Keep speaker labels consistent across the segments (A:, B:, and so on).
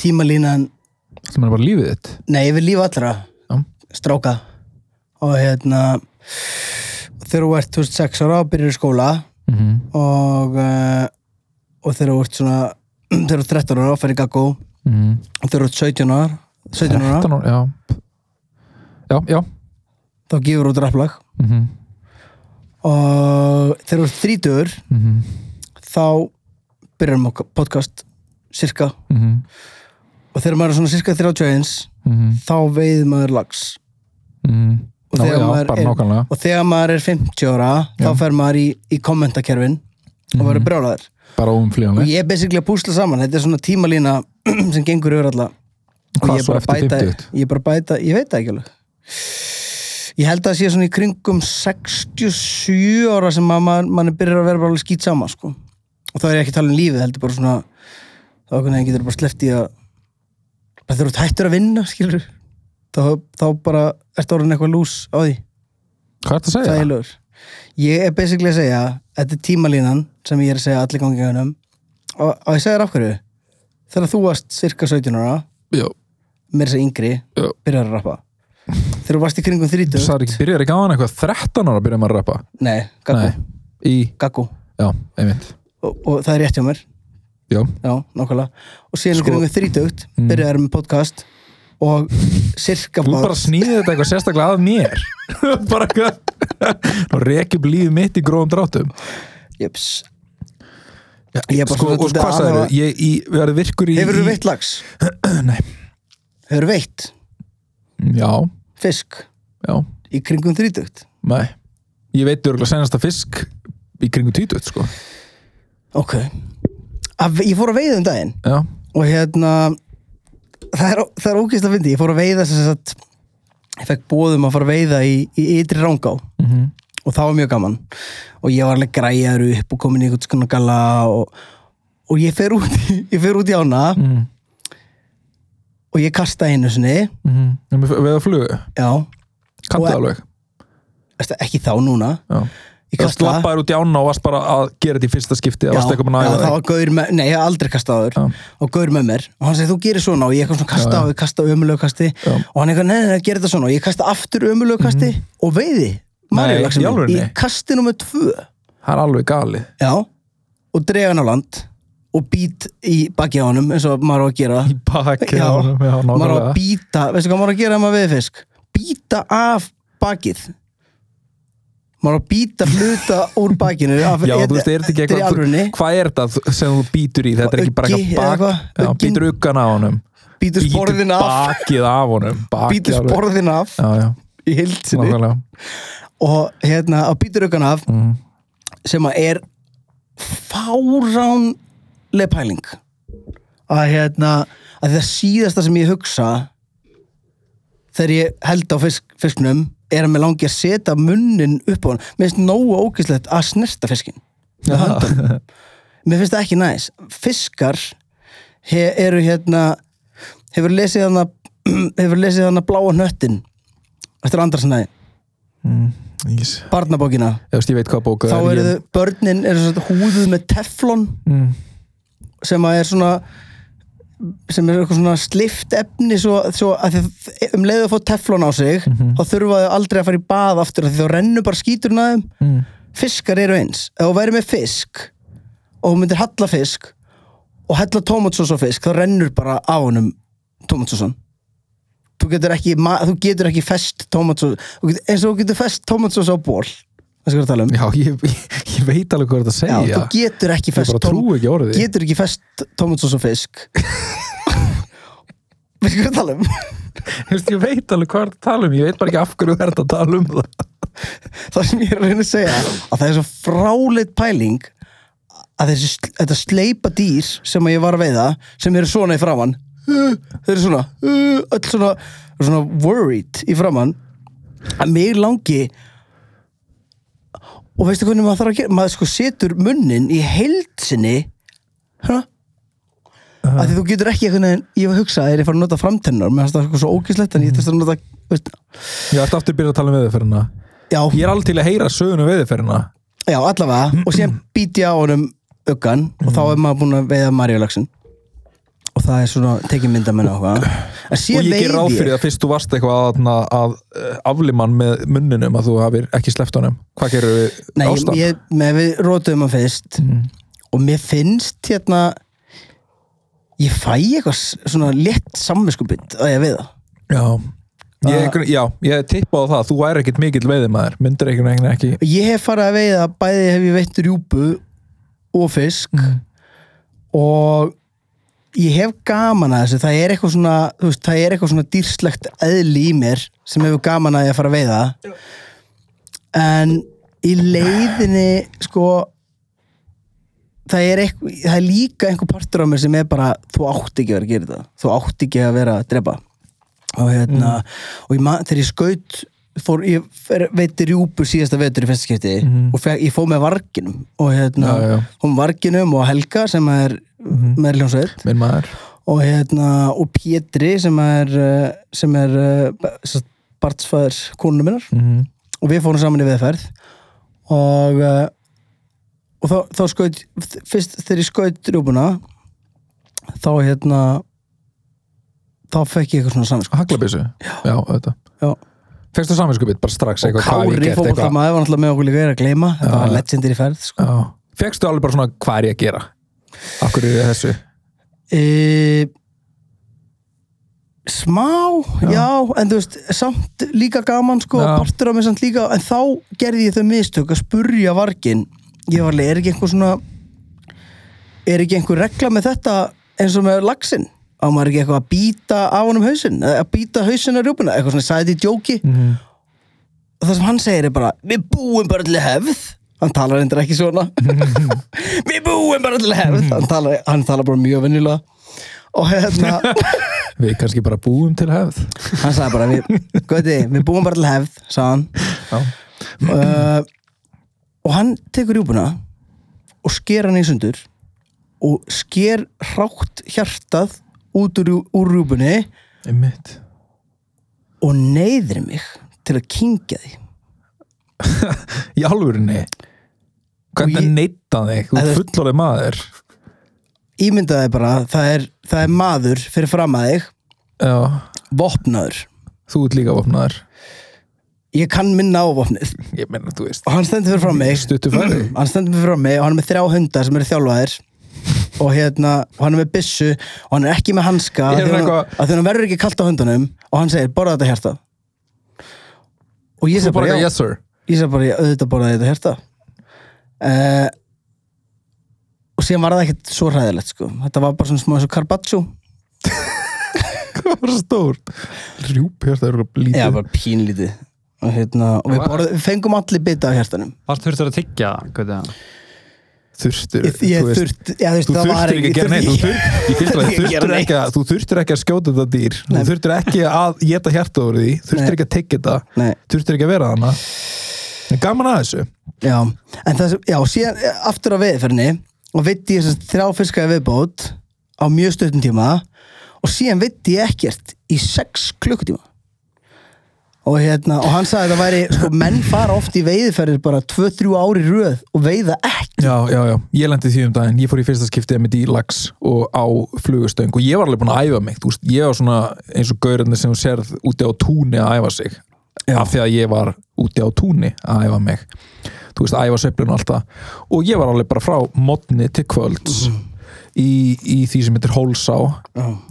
A: Tímalínan,
B: sem er bara lífið þitt
A: nei, yfir líf allra
B: Já.
A: stráka og hérna þegar þú ert 2006 ára og byrjar í skóla
B: mm -hmm.
A: og uh, og þegar þú ert svona þegar þú ert 13 ára og ferði gaggó og
B: Mm -hmm.
A: þegar þú ert 17 ára 17 ára,
B: 13 ára, já já, já
A: þá gefur þú draflag
B: mm -hmm.
A: og þegar þú ert 30
B: Mm -hmm.
A: þá byrjar maður podcast cirka
B: Mm -hmm.
A: og þegar maður er svona cirka 31
B: Mm -hmm.
A: þá veið maður lags Og
B: Ná,
A: þegar
B: já,
A: maður
B: bara
A: er-
B: nákvæmlega
A: og þegar maður er 50 ára þá
B: Já. Mhm.
A: fer maður í, í kommentakerfin og verður brjálæður
B: bara
A: og
B: óumflýjanleg
A: ég er basically að púsla saman þetta er svona tímalína sem gengur yfir alla og
B: Hvað
A: ég er
B: svo
A: bara að
B: eftir
A: bæta,
B: 50?
A: ég er bara að bæta ég veit það ekki alveg ég held að það sé svona í kringum 67 ára sem að maður, maður byrjar að vera bara alveg skýt sama sko. og þá er ég ekki að tala um lífið heldur bara svona þá einhvern veginn getur bara sleppt í að bara þegar þú ert hættur að vinna skilur þá, þá bara ertu orðin eitthvað lús á því
B: hvað ertu að segja?
A: þægilegur ég er basically að segja þetta er tímalínan sem ég er að segja allir gangi ganginum og, og ég segir af hverju þegar þú varst cirka 17 ára
B: já,
A: mér þess að segja yngri
B: Já.
A: byrjar að rappa þegar þú varst í kringum
B: þú
A: 30
B: sagði ekki, byrjar ekki á hann eitthvað 13 ára byrjar maður að rappa
A: nei, gaggu,
B: í,
A: gaggu
B: já, einmitt
A: og, og það er rétt hjá mér
B: já,
A: já, nákvæmlega og síðan
B: Sko-
A: í kringum 30 mm. byrjar með podcast og cirka
B: þú bara snýðið þetta eitthvað sérstaklega að mér bara eitthvað og reykja upp lífið mitt í gróðum drátum
A: jöps
B: já,
A: Ég er bara
B: sko,
A: svona
B: og
A: dálítið
B: hvað
A: að
B: sagði
A: hafa-
B: ég í, við erum virkur í
A: hefur þú
B: í-
A: veitt lags?
B: Nei.
A: hefur þú veitt
B: já,
A: fisk
B: já,
A: í kringum 30
B: nei ég veit örgulega senast að fisk í kringu títut sko
A: ok að, ég fór að veiða um daginn
B: já,
A: og hérna það er, það er ókvist að fyndi, ég fór að veiða sem sagt, ég fekk bóðum að fara að veiða í, í ytri rángá
B: mm -hmm.
A: og það var mjög gaman og ég var alveg græjar upp og komin í einhvern skona gala og, og ég fer út í, ég fer út í ána
B: Mm
A: og ég kasta einu sinni
B: -hmm. við að flugu,
A: já,
B: kanntu
A: mhm. Og-
B: alveg
A: veist, ekki þá núna
B: já
A: ég
B: Það
A: kasta
B: slappaður út í ána og varst bara að gera þetta í fyrsta skipti eða
A: Já,
B: varst eitthvað með
A: já,
B: næða
A: það var gaur með, nei, ég hef aldrei kastað áður
B: Já.
A: og gaur með mér og hann segi þú gerir svona og ég eitthvað svona kasta
B: Já, já.
A: og ég kasta ömulegu kasti
B: Já.
A: og hann eitthvað, nei, nei, nei, gerir þetta svona og ég kasta aftur ömulegu kasti og veiði Maríulaxinn minn.
B: Mhm. í alvörunni?
A: í kasti nummer tvö
B: Það er alveg galið
A: já, og dreg hann á land og být í baki á honum eins og maður á að gera
B: Í baki
A: Já,
B: á honum, já,
A: maður á að
B: nákvæmlega.
A: býta, veistu hvað maður á að gera ef maður veiði fisk býta af bakið maður á að býta hluta úr bakinu af,
B: Já, þú veist, er þetta ekki
A: þetta er í alvörunni.
B: eitthvað Hvað er þetta sem þú býtur í? Þetta er ekki bara
A: Uggi eða
B: eitthvað bak
A: eitthvað,
B: Já,
A: uggin.
B: býtur uggan af honum
A: býtur sporðin af
B: bakið af honum bakið
A: býtur
B: alveg.
A: sporðin af
B: Já, já,
A: í hildsinni
B: nákvæmlega
A: og hérna á býtur aukan af
B: mm.
A: sem að er fárán pæling að hérna að það síðasta sem ég hugsa þegar ég held á fisk, fisknum er að mér langi að setja munnin upp á hann mér finnst nógu ógæslegt að snerta fiskin með höndum mér finnst það ekki næs fiskar he, eru hérna hefur lesið hana hefur lesið hana bláa nöttin eftir andarsnæði,
B: Ís.
A: barnabókina
B: Ég veist, ég veit hvað bóka
A: þá
B: er
A: eru
B: ég...
A: þau, börnin eru svona húðuð með teflon
B: mm.
A: sem að er svona sem er eitthvað svona slift efni svo, svo að þið, um leiðu að fá teflon á sig þá þurfa þau aldrei að fara í bað aftur af því þá rennur bara skíturinn að þeim
B: Mm.
A: fiskar eru eins, ef þú væri með fisk og þú myndir halla fisk og hella tómatsós á fisk þá rennur bara á honum tómatsósan þú getur ekki, ma- þú getur ekki fest tómatsós þú getur- eins og þú getur fest tómatsós á ból það skal við tala um
B: Já, ég, ég veit alveg hvað þetta
A: Já,
B: segja
A: þú getur ekki
B: Ég
A: fest
B: bara trúi ekki orðið
A: getur ekki fest tomatsós og fisk við skulum tala um
B: Þú veist, ég veit alveg hvað það tala um, ég veit bara ekki af hverju þú ert að tala um það.
A: það sem ég er að reyna að segja að það er svo fráleitt pæling að þessi, þetta sleipa dýr sem að ég var að veiða sem eru svona í framann þau eru svona öll svona, svona worried í framann að mig langi og veistu hvernig maður þarf að gera maður sko setur munnin í heildsinni hérna uh því þú getur ekki eitthvað en ég var að hugsa er ég fara að nota framtennar mér fannst það sko svo ógislegt en ég þurfti að nota veist,
B: Ég ætti aftur að byrja að tala um veðurferðina
A: já,
B: Ég er alveg til að heyra sögunu veðurferðina
A: já, allavega og síðan býti ég á honum uggan og þá er maður búin að veiða marjulöksin og það er svona tekið myndamenn og hvað en
B: Og
A: síðan
B: ég ger ráð
A: veið
B: fyrir
A: ég
B: að fyrst þú varst eitthvað að, að, að eh, afliman með munninum að þú hafir ekki sleppt honum Hvað gerir við
A: Nei,
B: ástand?
A: ég, með við rótum að fyrst
B: Mm.
A: og mér finnst hérna ég fæ eitthvað s- svona létt samvinskubind að ég veiða
B: Já Ég, einhvern- já, ég tippa á það, þú væri ekkit mikill veiðimaður, myndir einhvern veginn ekki
A: ég hef farið að veiða bæði hef ég veitt rjúpu og fisk og ég hef gaman að þessu það er eitthvað svona, þú veist, það er eitthvað svona dýrslegt eðli í mér sem hefur gaman að ég að fara að veiða en í leiðinni sko það er, eitthvað, það er líka einhver partur á mér sem er bara þú átt ekki að vera að gera þetta þú átt ekki að vera að drepa og hérna og ég man, þegar ég skaut fór, ég fer, veiti rjúpu síðasta vetur í festskipti og fe, ég fóð með varginum og hérna,
B: Já, Mhm. já.
A: hún varginum og Helga sem er mm. meðljónsveit
B: minn maður
A: og hérna, og Pétri sem er uh, sem er uh, barnsfæður konunum minnar
B: mm.
A: og við fórum saman í veðferð og uh, og þá, þá skaut fyrst þegar ég skaut rjúpuna þá hérna þá fekk ég eitthvað svona samvinsku
B: Haglabissu, já, auðvitað
A: já
B: Fyrstu saminskupið, bara
A: og
B: strax eitthvað, hvað hef ég
A: Kári
B: gert eitthvað
A: fókbaltamaður var náttúrulega með okkur líka er að gleyma þetta var legendir í ferð sko.
B: Já. Fékkstu alveg bara svona, hvað er ég að gera? Akkur er ég þessu?
A: e, smá, já. en þú veist, samt líka gaman sko,
B: Já.
A: partur af mig samt líka en þá gerði ég þau mistök að spurja vargin ég var alveg, er ekki einhver svona er ekki einhver regla með þetta eins og með laxinn á maður ekki eitthvað að býta af honum hausinn eða að býta hausinn að rjúpuna, eitthvað svona sæði í djóki
B: Mm.
A: og það sem hann segir er bara við búum bara til hefð hann talar endur ekki svona við búum bara til hefð hann talar, hann talar bara mjög venjulega og hérna,
B: Við kannski bara búum til hefð
A: hann sagði bara við, gauti, við búum bara til hefð sagði hann
B: Já,
A: uh, og hann tekur rjúpuna og sker hann í sundur og sker hrátt hjartað út úr, rjú- úr rjúpunni
B: einmitt
A: og neyðir mig til að kingja því
B: Í alvörinni
A: Og
B: Hvernig
A: ég-
B: neyta þig? Þú
A: Eða-
B: ert fullorðið maður
A: ímyndaði bara, það er, það er maður fyrir fram að þig
B: Já,
A: vopnaður
B: þú ert líka vopnaður
A: ég kann minna á vopnið
B: Ég menna, þú veist
A: og hann stendur fyrir frá mig
B: Stuttu færi
A: hann stendur fyrir frá mig og hann er með þrjá hundar sem eru þjálfaðir og hérna, og hann er með byssu og hann er ekki með hanska
B: Ég er
A: að
B: eitthvað-
A: því hann verður ekki kalt á hundunum og hann segir, borða þetta hérta og ég
B: Þú
A: segi bara,
B: bara, eitthvað,
A: já,
B: yes sir
A: ég segi bara, "Já, auðvitað borða þetta hérta uh, og síðan var það ekkert svo hræðilegt sko, þetta var bara svona smá eins og Carpaccio
B: Hvað var stór? Rjúp, hérna er eitthvað
A: já,
B: lítið
A: bara pínlítið og, hérna, og við, borð, við fengum allir bita af hértanum
C: Varst þurftur að tyggja það? Hvað
B: Þurftur
A: ég, ég
B: þú veist,
A: þurft, já, þú veist,
B: Þú
A: það var
B: þurftir ekki að gera neitt Þú
A: þurfti-
B: þurft- í fyrsta
A: Þurfti ekki að
B: lagi,
A: gera
B: þurftir ekki að- Þú þurftir ekki að skjóta þetta dýr Þú
A: Nei.
B: þurftir ekki að geta hjarta úr því Þurftir
A: Nei.
B: ekki að tekja þetta
A: Nei,
B: Þurftir ekki að vera þarna En Gaman að þessu
A: já, en það sem, já, síðan eh, aftur á veiðferðinni og veitti ég þess þrjá fiska í viðbót á mjög stöttum tíma og síðan veitti ég ekkert í sex klukkutíma og hérna, og hann sagði að það væri sko, menn fara oft í veiðferðir bara 2-3 ári röð og veiða ekki
B: Já, já, já, ég lendi því um daginn ég fór í fyrsta skiptið með dílags og á flugustöng og ég var alveg búin að æfa mig þú veist, ég var svona eins og gaurarnir sem þú sérð úti á túni að æfa sig
A: Já.
B: af því að ég var úti á túni að æfa mig þú veist, æfa sveiflun og allt það og ég var alveg bara frá modni til kvölds í, í því sem heitir hólsá og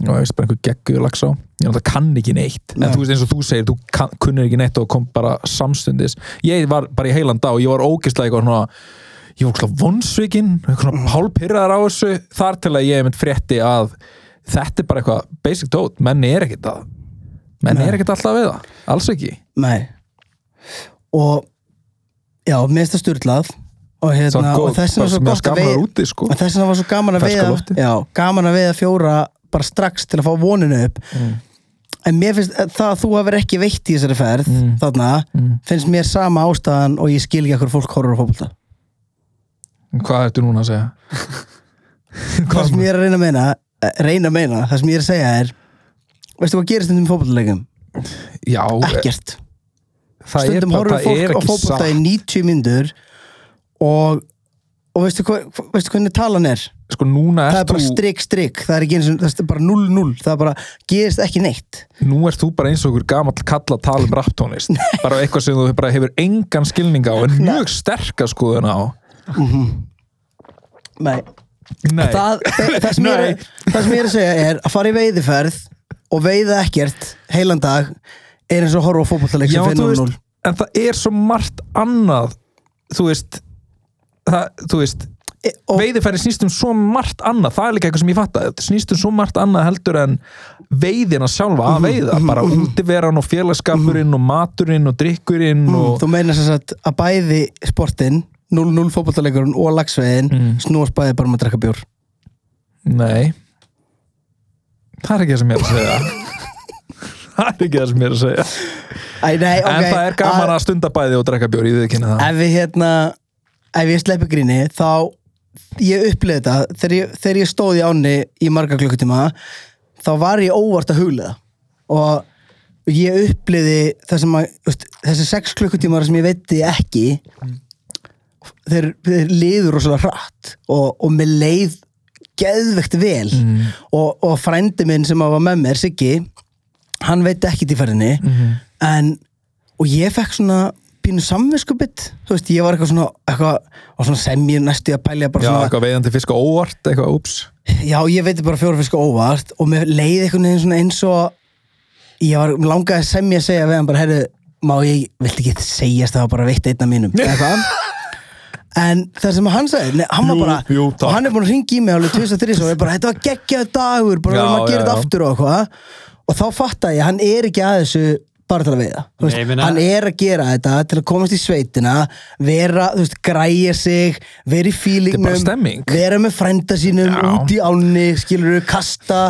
B: ég veist bara einhver geggu lagsá ég náttúrulega kann ekki neitt en þú veist eins og þú segir, þú kann, kunnir ekki neitt og kom bara samstundis ég var bara í heilan dag og ég var ógeðslega eitthvað svona ég var svona vonsvikinn eitthvað
A: Mm.
B: svona pálpyrraðar á þessu þar til að ég einmitt frétti að þetta er bara eitthvað basic dót, menn er ekkert að menn
A: Nei.
B: er ekkert alltaf við það, alls ekki
A: Nei og já, mér finnst það styrlað og
B: það
A: hérna,
B: er
A: og
B: góð,
A: þess vegna
B: bara
A: er svo
B: sem ég
A: gott að
B: skamar
A: veið
B: úti sko
A: og þess vegna var svo gaman að
B: Ferska
A: veiða
B: loftið. Mm.
A: já, gaman að veiða fjóra bara strax til að fá voninu upp en mér finnst eh, það að þú hafir ekki veitt í þessari ferð
B: Mm.
A: þarna, finnst mér sama ástæðan og ég skil ekki akkur fólk horfur á fótbolta
B: Hvað ertu núna að segja?
A: það sem ég er að reyna að meina eh, reyna að meina, það sem ég er að segja er veistu hvað gerist stundum í fótboltaleikum?
B: Já,
A: ekkert,
B: eh, það er,
A: stundum
B: bara-
A: horfur
B: það er
A: fólk á
B: ekki
A: fótbolta í
B: satt
A: 90 myndur og, og veistu, hva, veistu hvernig talan er?
B: Sko núna
A: það er
B: ert
A: bara
B: þú
A: strik, strik, það er ekki eins og það er bara 0-0, það er bara gerist ekki neitt
B: Nú ert þú bara eins og ykkur gamall kalla að tala um rapptónist Bara eitthvað sem þú bara hefur engan skilning á En mjög sterka skoðun á
A: Nei.
B: Nei,
A: Það, það, það, sem ég er,
B: Nei.
A: það sem ég er að segja er að fara í veiðiferð og veiða ekkert heilan dag er eins og að horfa á fótbollaleik
B: Já,
A: sem fyrir
B: þú
A: 0-0
B: veist, en það er svo margt annað Þú veist, það, þú veist
A: E- og-
B: veiðifæri snýst um svo margt annað það er líka eitthvað sem ég fatt að snýst um svo margt annað heldur en veiðina sjálfa
A: Mhm,
B: að veiða, bara útiveran og félagskapurinn og maturinn og drikkurinn og
A: Mhm, Þú meinar sem sagt að bæði sportin 0-0 fótbollaleikurinn og lagsveiðin mm. snúast bæði bara um að drekka bjór
B: nei það er ekki það sem ég er að segja það er ekki það sem ég er að segja
A: Æ, nei, ok
B: en það er gaman að stunda bæði og drekka bjór, ég við kynna um það
A: ef við hérna ef ég sleppi gríni þá ég uppleði þetta þegar ég, þegar ég stóð í áni í marga klukkutíma þá var ég óvart að huglega og ég uppleði þessum að þú veist, þessi sex klukkutímar sem ég veitti ekki þeir, þeir liður rosalega hratt og, og mér leið geðvegt vel og, og frændi minn sem var með mér, Siggi hann veit ekki til ferðinni
B: Mhm.
A: en, og ég fekk svona pínu samvinskubitt, þú veist, ég var eitthvað svona eitthvað, og svona sem ég næstu í að pælja bara
B: já,
A: svona,
B: eitthvað veiðandi fiska óvart, eitthvað úps
A: já, ég veit bara fjórafiska óvart og mér leiði einhvern veginn svona eins og ég var langaði sem ég að segja við hann bara, herru, má ég, viltu ekki segjast það var bara veitt einna mínum eða hvað? En það sem hann sagði, nei, hann var
B: Jú,
A: bara,
B: jú, takk.
A: og hann er búin að ringa í mig alveg 2003 og ég bara, þetta var geggjaðu dagur, bara
B: Já,
A: verðum að
B: já,
A: gera þetta
B: já.
A: aftur og eitthvað. Og þá fattaði ég, hann er ekki að þessu bara til að veiða. Þú
C: Nei, ég
A: Veist,
C: meina-
A: hann er að gera þetta til að komast í sveitina, vera, þú veist, græja sig, vera í
B: Þetta er bara
A: fílingnum,
B: stemming.
A: vera með frænda sínum,
B: Já.
A: út í ánni, skilur kasta,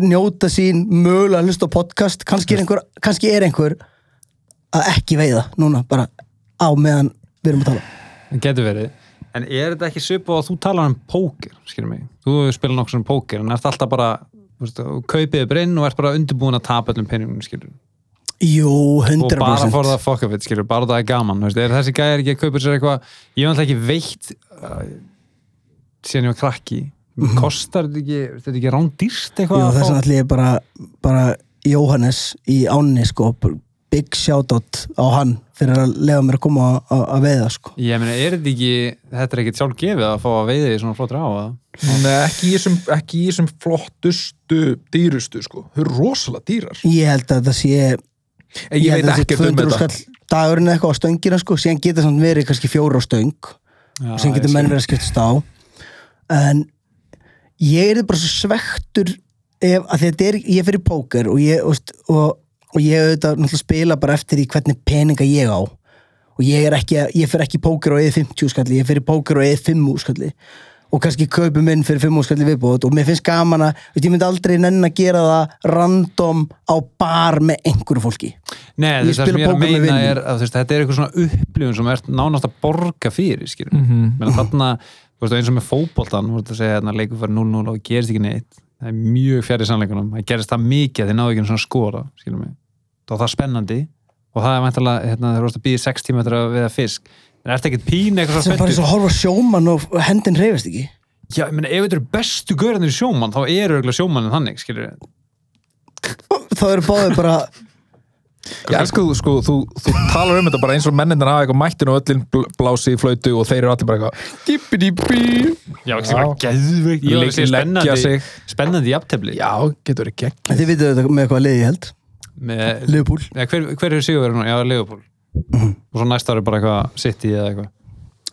A: njóta sín, mögulega hlusta á podcast, kannski er einhver, kannski er einhver að ekki veiða núna, bara á meðan við erum að tala.
C: Það getur verið. En er þetta ekki svipað að þú talar um póker, skilur mig? Þú hefur spilað nokkur sem póker, en ert alltaf bara, þú veist, þú kaupið upp inn og ert bara undirbúin að tapa öllum peningunum, skilur.
A: Jú, 100%
C: Og bara for the fuck of it, skilur, bara það er gaman, þú veist, er þessi gæjar ekki að kaupa sér eitthvað, ég hef alltaf ekki veitt uh, síðan ég var krakki, kostar þetta ekki, þetta er ekki rándýrst
A: Jú,
C: eitthvað að
A: þess
C: fá-
A: vegna ætlum ég bara, bara Jóhannes í ánni sko, big shoutout á hann fyrir að lega mér að koma að- að að veiða sko.
C: Ég meina, er þetta ekki, þetta er ekkit sjálf gefið að fá að veiða í svona flottur á það?
B: Nei, ekki í þessum, ekki í þessum flottustu, dýrustu sko. þau eru rosalega dýrar
A: Ég held að það sé ég,
B: ég, ég veit
A: held að
B: ekkert um þetta
A: skall dagurinn eða eitthvað á stöngina sko, síðan geta samt verið kannski fjóra á stöng
C: Já,
A: og síðan
C: ég
A: getur menn
C: skil.
A: verið að skiptast á en ég er bara svo svektur ef, að þetta er, ég fyrir póker og ég, og, og, og ég auðvitað náttúrulega spila bara eftir því hvernig peninga ég á og ég er ekki, að- ég fyrir ekki í póker og eða 50 skalli, ég fyrir póker og eða 5 skalli og kannski kaupi minn fyrir 5 skalli viðbót og mér finnst gaman að, veist, ég myndi aldrei nenn að gera það random á bar með einhverju fólki
C: Nei,
A: Ég
C: þú veist, það
A: spila
C: sem ég er að
A: póker með
C: meina
A: vinum.
C: er að þú veist, þetta er eitthvað svona upplifun sem er nánast að borga fyrir, skilur mm
B: Mhm.
C: menn þarna, þú veist, eins og með fótboltan þú veist að segja, hérna, leikur fyrir 0-0 og gerist ekki neitt það er mjög fjari sannleikunum það gerist það mikið að þið náðu ekki einu svona skora skilur mig, þá er það spennandi og það er væntalega, hérna, þeir eru að býða 6 tíma eftir að viða fisk, en ertu ekkert pín eitthvað
A: sem
C: svo
A: bara
C: spenntur
A: svo horfa á sjómann og og hendin reyfist ekki
C: Já, ég meina, ef þetta eru bestu görðanir sjómann, þá eru örugglega sjómanninn þannig, skilurðu.
A: þá eru báðið bara
B: ég elsku þú, sko, þú, þú talar um þetta bara eins og mennindan hafa eitthvað mættin og öllin bl- blási í flautu og þeir eru allir bara eitthvað dippi-dippi
C: Já, ekki bara geðveikt. Ég var að
B: Leggja
C: segja spennandi-
B: sig.
C: spennandi jafntefli.
B: já, getur ekki gegn
A: En Þið vitið þetta með hvaða liði ég held
C: Með-
A: Liverpool
C: Já, hver, hver er sigurverðin? Já, Liverpool og svo næsta ári bara eitthvað City eða eitthvað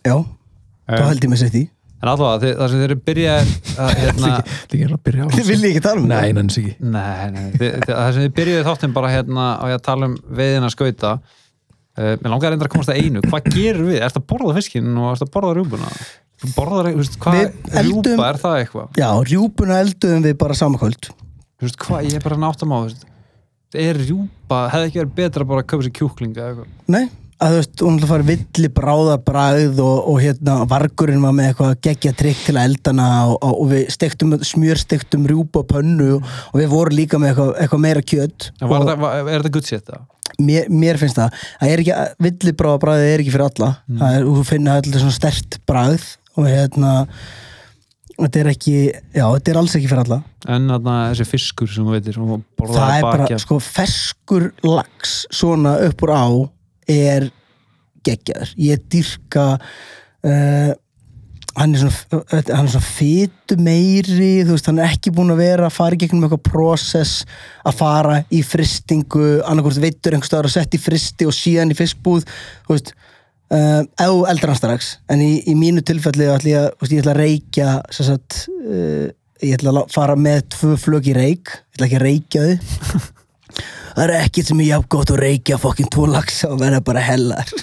A: Já, þá
B: Eh.
A: held ég með sitt í
C: en allavega þið- það sem þeir eru byrjað að, hérna,
B: líka hérna að byrja á
A: Þið viljið ekki tala um
B: nei, nanns ekki
C: nei, nei, þið, þið, það sem þið byrjuðu þáttum bara hérna á ég að tala um veiðina skauta uh, mér langar að reynda að komast að einu hvað gerum við? Ertu að borða fiskinn og ertu að borða rjúbuna? Þú Borðar, þú veist, hvað,
A: Við eldum-
C: rjúpa er það eitthvað?
A: Já, rjúpuna elduðum við bara samakvöld
C: Þú veist, hvað, ég er bara að náttum á þú veist. það er rjúpa, hefði ekki verið betra bara að köpa sér kjúklinga eða eitthvað
A: Nei, að þú veist, hún ætla að fara villi bráðarbræð og, og hérna vargurinn var með eitthvað geggja trikk til að eldana og, og, og við stektum smjörstektum rjúpa á pönnu og, og við vorum líka með eitthvað, eitthvað meira kjöt
C: En var þetta- var- Er þetta gutt sétt það?
A: mér, mér finnst það það er ekki, villi bráðarbræð er ekki fyrir alla það er, þú finnir allir svona stert bræð og hérna þetta er ekki, já, þetta er alls ekki fyrir alla
C: En þarna þessi fiskur sem þú veitir sem hún
A: það
C: borðaði
A: er bara,
C: bakja
A: sko, ferskur lax svona upp úr á er geggjaður ég dyrka uh, hann er svona hann er svona fytu meiri þú veist, hann er ekki búin að vera að fara í gegnum eitthvað process að fara í fristingu, annarkvort veitur einhvers staðar að setja í fristi og síðan í fiskbúð þú veist Uh, eða þú eldar hann strax en í, í mínu tilfelli ætla ég, að- þú veist, ég ætla að reykja sem sagt, uh, ég ætla að lá- fara með tvö flög í reyk ég ætla ekki að reykja þau það er ekkert sem ég haf gott að reykja fokkin tvo laxa og verða bara hellar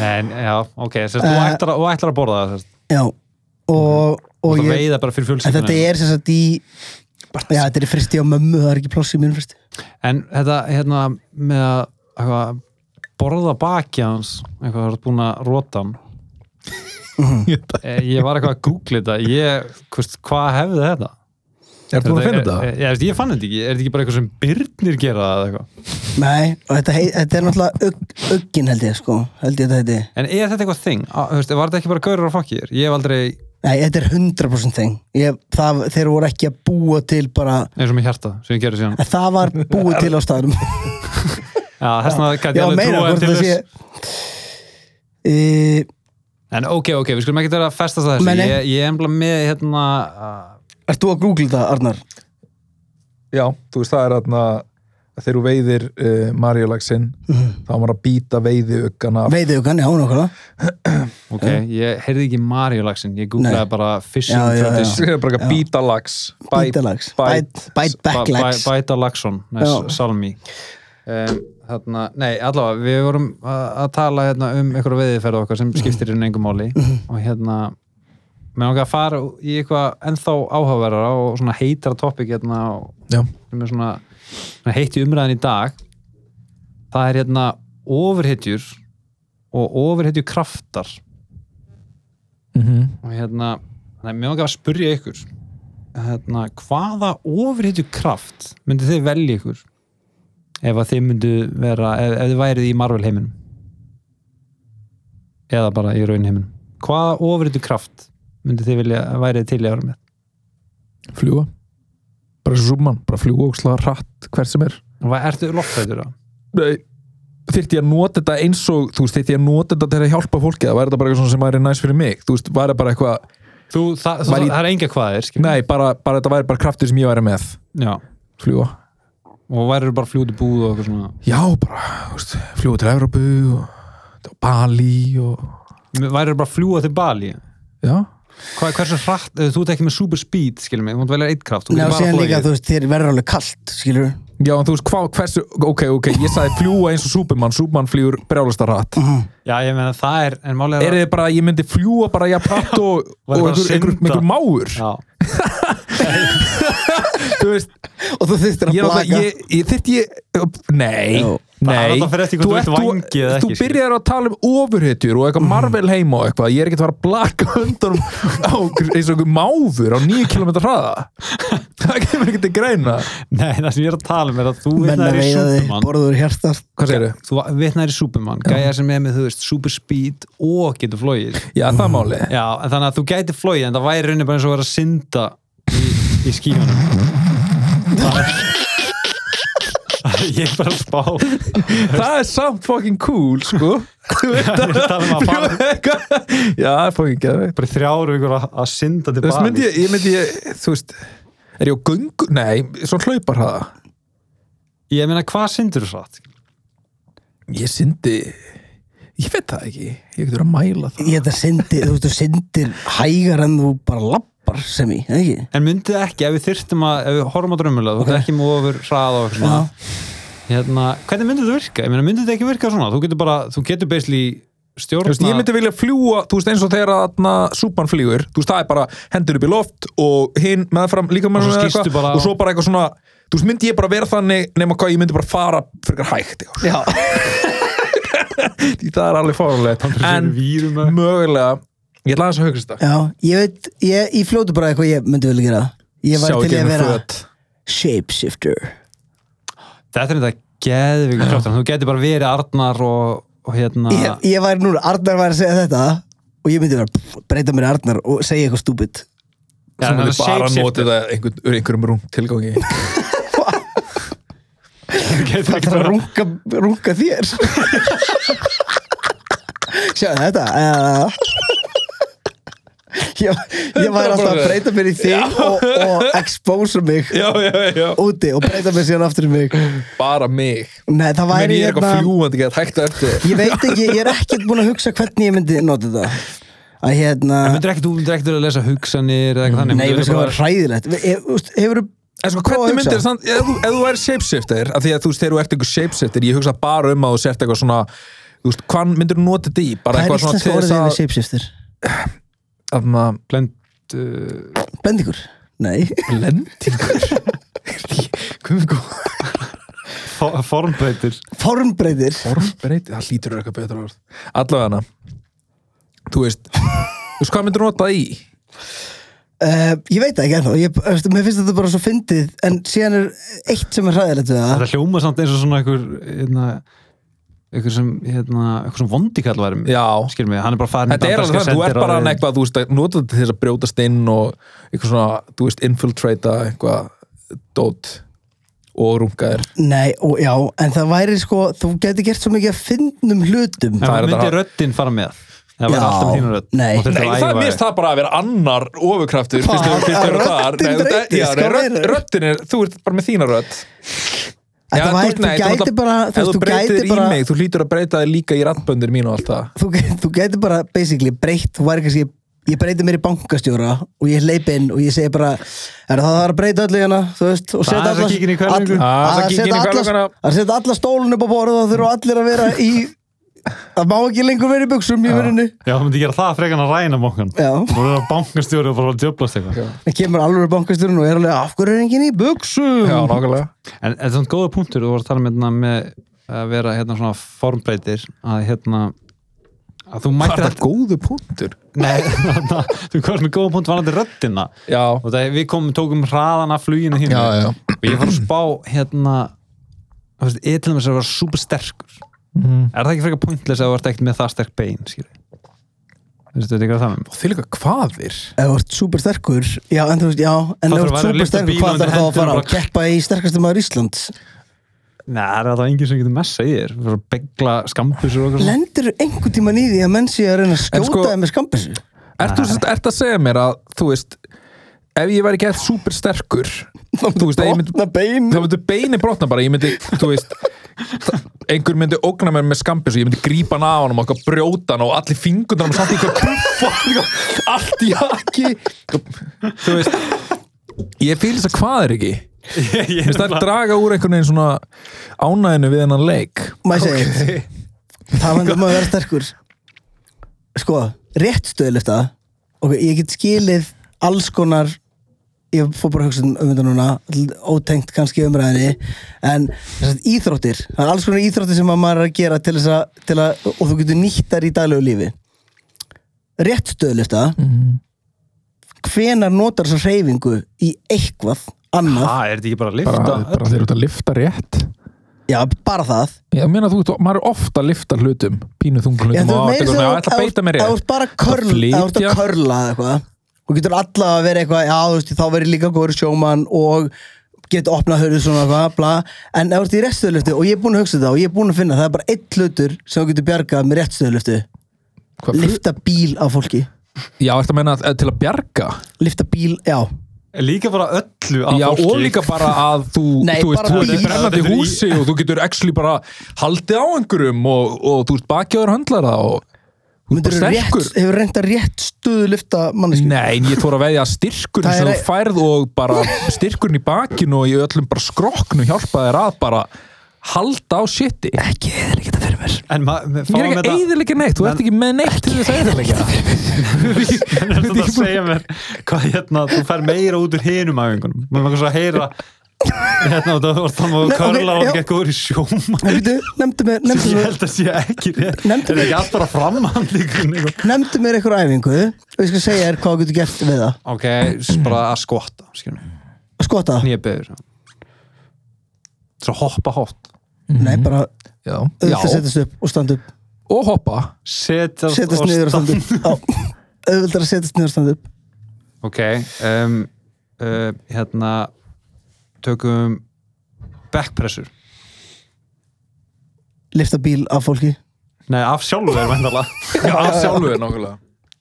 C: Nei, já, ok, sérst, þú,
A: Eh,
C: ætlar, að- þú ætlar að borða það sérst.
A: já og, og
C: og það
A: ég,
C: veiða bara fyrir
A: en þetta
C: fjölskyldunni
A: er sem sagt í já, þetta er í fristi á mömmu, það er ekki pláss í mínu fristi
C: en þetta hérna með að eitthvað, borða bakja hans eitthvað það er búin að róta hann
B: Mm.
C: Eh, ég var eitthvað að googla þetta ég, hvist, hvað hefði þetta?
B: Er það að finna
C: er-
B: þetta?
C: er- ég, veist, ég fann þetta ekki, er þetta ekki bara eitthvað sem byrnir gera það eða eitthvað?
A: nei, og þetta, hei, þetta er náttúrulega ugg, uggin held ég sko, held ég þetta heiti
C: en er þetta eitthvað þing? Á, þú veist, var þetta ekki bara gaurur á fokkir? ég hef aldrei,
A: nei, þetta er 100% þing ég, það, þeir voru ekki að búa til bara
C: eins og með hjarta sem ég gerði síðan,
A: að það var búið til á staðnum
C: já, þessna gæti
A: já,
C: ég alveg
A: meira,
C: trúa
A: hvort
C: til
A: það sé
C: þess
A: e,
C: en ok, ok, við skulum ekki vera að festast að
A: Nei,
C: þessu
A: nei.
C: ég, ég er embla með hérna uh,
A: Ert þú að googla það, Arnar?
B: Já, þú veist, það er þarna þegar þú veiðir uh, Marjolaxin þá var að býta veiðiuggana
A: Veiðaukan, já, nákvæmlega
C: Ok, ég heyrði ekki Marjolaxin, ég googlaði
A: Nei.
C: bara fishing
A: Já, já,
C: fetish
B: það er bara að býta lax
A: Bæta lax Bæt- Bæt back lax
C: Bæ- bæ- Bæta Laxson, nei,
A: Já.
C: Salmi um, Þarna, nei, allavega við vorum að að tala hérna, um einhverja veiðiferð okkar sem skiptir inn engum máli
A: Mhm.
C: og hérna með okkar að fara í eitthvað ennþá áhugaverðara og svona heitara topic hérna og
B: Já,
C: sem er svona, svona heitt í umræðan í dag það er hérna ofurhetjur og ofurhetjur kraftar
B: mhm
C: og hérna, þannig að mér langar að spyrja ykkur hérna, hvaða ofriðtu kraft myndi þið velja ykkur ef að þið myndu vera, ef, ef þið værið í Marvel heiminum eða bara í raun heiminum hvaða ofriðtu kraft myndi þið vilja að værið til í ára með
B: fljúa bara svo súpmann, bara fljúa og slaga hratt hvert sem er
C: og hvað ertu loftfættur á?
B: Nei. þyrfti ég að nota þetta eins og þú veist, þyrfti ég að nota þetta til að hjálpa fólki það væri þetta bara eitthvað svona sem væri næs fyrir mig þú veist, væri bara eitthvað,
C: Þú, það, þú,
B: Var í-
C: það er enga hvað er
B: nei, bara, bara þetta væri bara kraftur sem ég væri með,
C: Já,
B: fljúa
C: og værið bara fljóti búð og eitthvað svona
B: já, bara, þú veist, fljúa til Evropu og til Bali og,
C: værið bara fljúa til Bali
B: já,
C: Hvað, hversu hratt, eh, þú ert ekki með super speed skilum mig, þú mátt velja eitt kraft þú
A: Nei,
C: getur
A: og
C: bara
A: síðan líka,
C: flogið.
A: þú veist, þér verður alveg kalt, skilur
B: já, en þú veist, hvað, hversu ok, ok, ég sagði fljúa eins og Superman Superman fljúur brjálasta hratt
C: Já, ég meina það er, en málið
B: er þið bara, ég myndi fljúa bara jafnpratt og, og
C: Væri bara að
B: einhver, einhver,
C: synda.
B: einhver máur
C: Já,
B: þú veist,
A: Og þú þurftir að
B: ég er
A: blaka
B: alltaf, ég, ég þyrfti ég nei,
A: Jó.
C: Það er
B: nei
C: alltaf fyrir eftir hvort þú ert vangi eða
B: þú
C: ekki, skilur. Mm.
B: byrjar að tala um ofurhetjur og eitthvað Marvel heima og eitthvað ég er ekkert að fara að blaka undan á, eins og einhver máfur á 9 km hraða það kemur ekkert til greina
C: nei, það sem ég er að tala um er að þú
A: Menn að
C: vitnar í
A: veiða þig,
C: Superman
A: borður hjartar
B: hvað segirðu?
C: Þú vitnar í Superman, gæja sem er með, þú veist, super speed og getur flóið Já,
B: já, það máli
C: en þannig að þú gæti flóið en það væri raunin bara eins og að vera að synda í, í skíunum Ég er bara að spá
B: það er samt fucking cool, sko þú veit
C: Ég er að tala um að fara
B: eitthvað já, það er fucking geðveikt
C: bara í þrjár vikur að, að synda til
B: Þú veist, myndi
C: Bali
B: ég, ég myndi ég, þú veist er ég á göngu, nei, svo hlaupar það
C: Ég meina, hvað syndur þú satt?
B: ég syndi ég veit það ekki, ég getur að mæla það
A: Ég þetta syndir, þú veist, þú syndir hægar en þú bara lappar sem í, eða ekki?
C: En myndið ekki, ef við þyrftum að, ef við horfum á drömmulega, þú ert ekki með ofur hraða og eitthvað svona, hérna, hvernig myndið þetta virka? Ég meina, myndið þetta ekki virka svona? Þú getur bara, þú getur beisli
B: Þú veist,
C: stjórna...
B: ég myndi vilja fljúa, þú veist, eins og þegar aðna súpan flýgur, þú veist, það er bara hendur upp í loft og hinn meðfram líka
C: Og
B: með
C: svo skýstu bara á-
B: og svo bara eitthvað svona þú veist, myndi ég bara vera þannig nema hvað ég myndi bara fara fyrir hægt já.
A: Já,
B: Því það er alveg fárulegt en
C: vírum
B: mögulega ég ætla aðeins að hugsa þetta
A: já, ég veit, ég, ég fljótu bara eitthvað ég myndi vel gera Ég var
B: Sjá
A: til í að
B: gegnum
A: vera
B: föt.
A: shapeshifter
C: Þetta er þetta geðvíkur kraftan, þú getur bara verið Arnar og, og hérna
A: ég,
B: Ah.
A: ég var núna, Arnar var að segja þetta og ég myndi vera, breyta mér í Arnar og segja eitthvað stúbid
C: Já,
B: sem
C: það er
B: myndi bara
C: shapeshifter.
B: notið það einhver, úr einhverjum rúm tilgangi
C: Þú getur
A: Það er
C: ekki
A: að
C: bara-
A: runga, runga þér Sjá þetta uh, ég, ég var alltaf að breyta mér í þig og, og expose mig
B: já, já, já,
A: úti og breyta mér síðan aftur í mig
B: bara mig
A: Nei, það
B: menn
A: væri hérna-
B: ég er eitthvað fljúandi gett hægt á eftir
A: Ég veit ekki, ég er ekkert búin að hugsa hvernig ég myndi nota þetta að hérna
C: Það myndir ekkert, þú myndir ekkert verið að lesa hugsanir eða eitthvað þannig
A: Nei,
C: myndir
A: við e,
C: bara-
A: það var hræðilegt Hefur
B: En sko,
A: Prófa að
B: hvernig
A: hugsa.
B: myndir það, ef, þú- ef þú er shapeshifter, af því að þú veist, þegar þú ert einhver shapeshifter, ég hugsa bara um að þú sért eitthvað svona, þú veist, hvað myndir þú nota þetta í? Bara
A: það er
B: eitthvað svona
A: íslenska
B: til
A: orðið yfir
B: þess
A: shapeshifter
B: að, að maður
C: Blend, uh,
A: Bendingur? Nei
B: blendingur. Hvað er
C: for- formbreytir
A: Formbreyðir
B: Formbreytið, það hlýtur að vera eitthvað betra orð. Allavega hana, þú veist, þú veist, hvað myndir þú nota það í?
A: Uh, ég veit það ekki ennþá, ég, veistu, mér finnst þetta bara svo fyndið en síðan er eitt sem er hræðilegt við það
C: Þetta hljóma samt eins og svona einhver hérna, einhver sem hérna, einhver sem vondikall væri
B: Já.
C: skil mig, hann er bara farin í
B: Þetta er alveg
C: bandaríska
B: það, þú ert bara
C: sendiráðið.
B: hann eitthvað, þú veist, að nota þetta til þess að brjótast inn og eitthvað svona, þú veist, infiltrata eitthvað dót og runga þér.
A: Nei, og já, en það væri sko, þú getur gert svo mikið að fyndnum hlutum
C: En
B: Það er
C: hvað myndi
B: þetta-
C: röddinn fara með? Það var
A: Já.
C: alltaf þínu rödd
A: Nei.
C: Og þetta
B: Nei,
C: var
B: það er
C: ævaði.
B: mist það bara að vera annar ofurkraftur fyrst
A: Hvað?
B: þegar fyrst þegar
A: Röddin
B: þar Nei, þú-
A: breytist,
B: já, nei,
A: hvað
B: rödd-
A: meinarðu?
B: Röddin er, þú ert bara með þína rödd
A: Þetta
B: Já,
A: væri-
B: ert-
A: þú
B: nei,
A: gætir
B: náttúrulega-
A: bara- þú
B: Ef
A: veist,
B: þú
A: þú
B: breytir
A: gætir
B: í
A: bara-
B: mig, þú hlýtur að breyta þig líka í rattböndir mín og allt það
A: þú, get- þú getur bara, basically, breytt þú væri kannski, ég breyti mér í bankastjóra og ég leip inn og ég segi bara er það það þarf að breyta öllu hérna, þú veist og
C: Það
A: setja
C: er þess að kíkja inn í
A: alla-
C: hverfingu.
B: Það er þess
A: að
B: að kíkja inn í
A: setja alla-
B: hverfinguna.
A: að setja alla stólun upp á borð og þurfa allir að vera í það má ekki lengur vera í buksum í verinu
C: Já, það myndi gera það frekan að ræna mokkan
A: Já.
C: Þú verður að bankastjóri og bara að djöblast eitthvað
B: Já.
A: það kemur alveg bankastjórun og er alveg af hverju er enginn í buksum
B: Já, nákvæmlega
C: En þetta er svona góða punktur, þú voru að tala með, hérna, með að vera hérna svona formbreytir að hérna að þú
B: Var
C: mættir
B: þetta góðu punktur?
C: Nei, þarna, þú komst með góða punkt varandi röddina
B: Já,
C: og það, við komum, tókum hraðan af fluginu hínu
B: Já, já.
C: og ég fór að spá hérna þú veist, ég til dæmis að vera super sterkur er það ekki frekar pointless að þú ert ekkert með það sterk bein skilur þú veist, þetta er hvað það með
B: þið líka hvaðir
A: Ef þú ert súper sterkur, já, en þú veist, já, en
C: Það
A: ef þú ert
C: þarf að vera að
A: súper
C: lyfta
A: sterkur,
C: bíl
A: hvað
C: undir
A: þarf þá að
C: hendinni
A: fara
C: og
A: að
C: bara-
A: keppa í sterkastu maður Íslands?
C: Nei, það er það enginn sem getur messa í þér fyrir að begla skambusur og okkur
A: Lendir þú einhvern tíman í því að menn sé að reyna að skjóta
B: sko-
A: þeim með skampissu?
B: Ertu sem sagt- ertu að segja mér að, þú veist ef ég væri gett súper sterkur þú veist, að ég myndi
A: Brotna bein
B: þá myndi beinin brotna bara ég myndi, þú veist einhver myndi ógna mér með skambis og ég myndi grípa hann á hann og okkar brjóta hann og allir fingurnar og samt í eitthvað buffa allt í haki þú veist ég fýl þess að hvað er ekki Þú
C: ég
B: veist, það er draga úr einhvern veginn svona ánæðinu við hennan leik
A: Maður segir, talandi um að vera sterkur Sko, rétt stöðlifta Ok, ég get skilið alls konar Ég fór bara að hugsa um um þetta núna Ótengt kannski umræðinni En þess að íþróttir Það er alls konar íþróttir sem að maður er að gera til þess að, til að Og þú getur nýtt þær í daglegu lífi Rétt stöðlifta
B: Mm.
A: Hvenar notar þess að hreyfingu Í eitthvað annað
C: Það er þetta ekki bara að lifta
B: þeir eru að lifta rétt
A: Já, bara það
B: ég meina þú veist, maður er ofta að lifta hlutum pínu þungum
A: Já,
B: hlutum
A: þú
B: og allt
A: meiri sem
B: eitthvað, svona,
A: þú-
B: ég ætla að
A: ef-
B: beita mér
A: ef þú
B: rétt
A: ert bara að körl- ef þú ert
B: flytja.
A: að körla eða eitthvað og getur allavega að vera eitthvað já, þú veist, þá verður líka góður sjómann og getur opnað hörðu svona eitthvað bla, en ef þú ert í réttstöðlöftu og ég er búin að hugsa þetta og ég er búin að finna það er bara einn hlutur sem þú getur bjargað með réttstöðlöftu
B: Hvað, fl-
A: lifta bíl af fólki
B: já, ertu að meina að- til að bjarga
A: lifta bíl, já
C: Líka bara öllu af
B: Já,
C: fólki
B: og líka bara að þú,
A: Nei,
B: þú veist,
A: bara
B: þú ert í
A: bíl.
B: brennandi
C: Þetta er í-
B: húsi og þú getur actually bara haldið á einhverjum og, og þú ert bakjaður höndlara og þú ert
A: Myndirðu
B: bara sterkur.
A: rétt, hefur reynda rétt stöðu lifta mannesku
B: Nei, en ég þóra að veðja að styrkurinn
A: Það er
B: sem þú færð og bara styrkurinn í bakinu og í öllum bara skrokknu hjálpa þér að bara halda á shiti.
A: ekki, það er ekki það fyrir mér
C: En maður
B: Ég er ekki að eðilegja neitt, þú ert ekki með neitt til þess að eðilegja.
C: Það er þetta að segja mér hvað hérna, þú fær meira út úr hinum æfingunum maður langar svo að heyra Hérna og það var það maður
A: Nei, ok,
C: körla og
A: já.
C: gekk úr í sjóma
A: En býtu, nefndu mér, nefndu
C: Ég
A: mér
C: held að sé ekki rétt Er
A: Nefndu
C: það ekki allt bara framhandlíkun
A: Nefndu mér eitthvað æfingu og ég skal segja þér hvað þú getur gert við það
C: Ok, s- bara að skotta skilur mig,
A: Skota?
C: nýja beður Svo hoppa hátt
A: Nei, bara
B: já.
A: auðvitað
C: Já.
A: setjast upp og standa upp
B: og hoppa
C: Setjast
A: Setjast
C: og
A: niður og
C: stand-
A: standa upp Já. Auðvitað að setjast niður og standa upp
C: Ok, um, uh, hérna tökum backpressur
A: Lifta bíl af fólki
C: Nei, af sjálfu er vendala
B: já, af sjálfu er nákvæmlega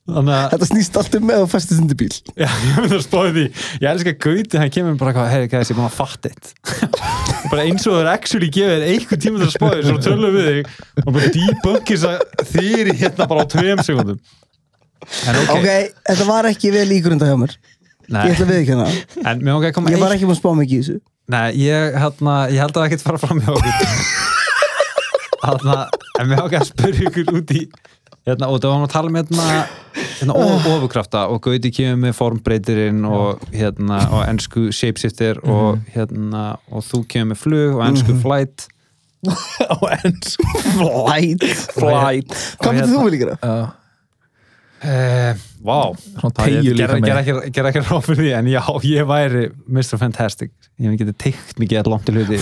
C: Þannig að
A: Þetta snýst alltaf með að festist undir bíl
C: Já, ég myndi að spáði því Ég elska Gauti, hann kemur bara eitthvað Hei, gæðis, ég búin að fatta eitt Bara eins og það er actually gefið þér einhvern tíma til að spáði Svo tölum við þig Og bara debunkis að þýri hérna bara á tveim sekundum En ok,
A: Ok, þetta var ekki vel ígrunda hjá mér Ég ætla
C: Nei,
A: við ekki hana
C: en mér okkar að koma
A: Ég var
C: eitt
A: ekki búin að spá mikið í þessu
C: Nei, ég, hérna, ég held að það ekkert fara fram hjá okkur Hérna, en mér okkar að spyrja ykkur út í Hérna, og það varum að tala um hérna, hérna of, ofurkrafta og Gauti kemur með formbreytirinn og hérna, og ennsku shapeshifter og
B: Mhm.
C: hérna, og þú kemur með flug og ennsku flight
B: á enns
A: Flight
B: Flight.
A: Hvað myndir þú
C: hérna.
A: vel gera?
B: já,
C: Eh, Vá,
B: Svona
C: Það ég
B: teygju líka mig.
C: gerði ger ekki, ger ekki ráð fyrir því en já, ég væri Mr. Fantastic ég hef getið teikt mikið að langt til hluti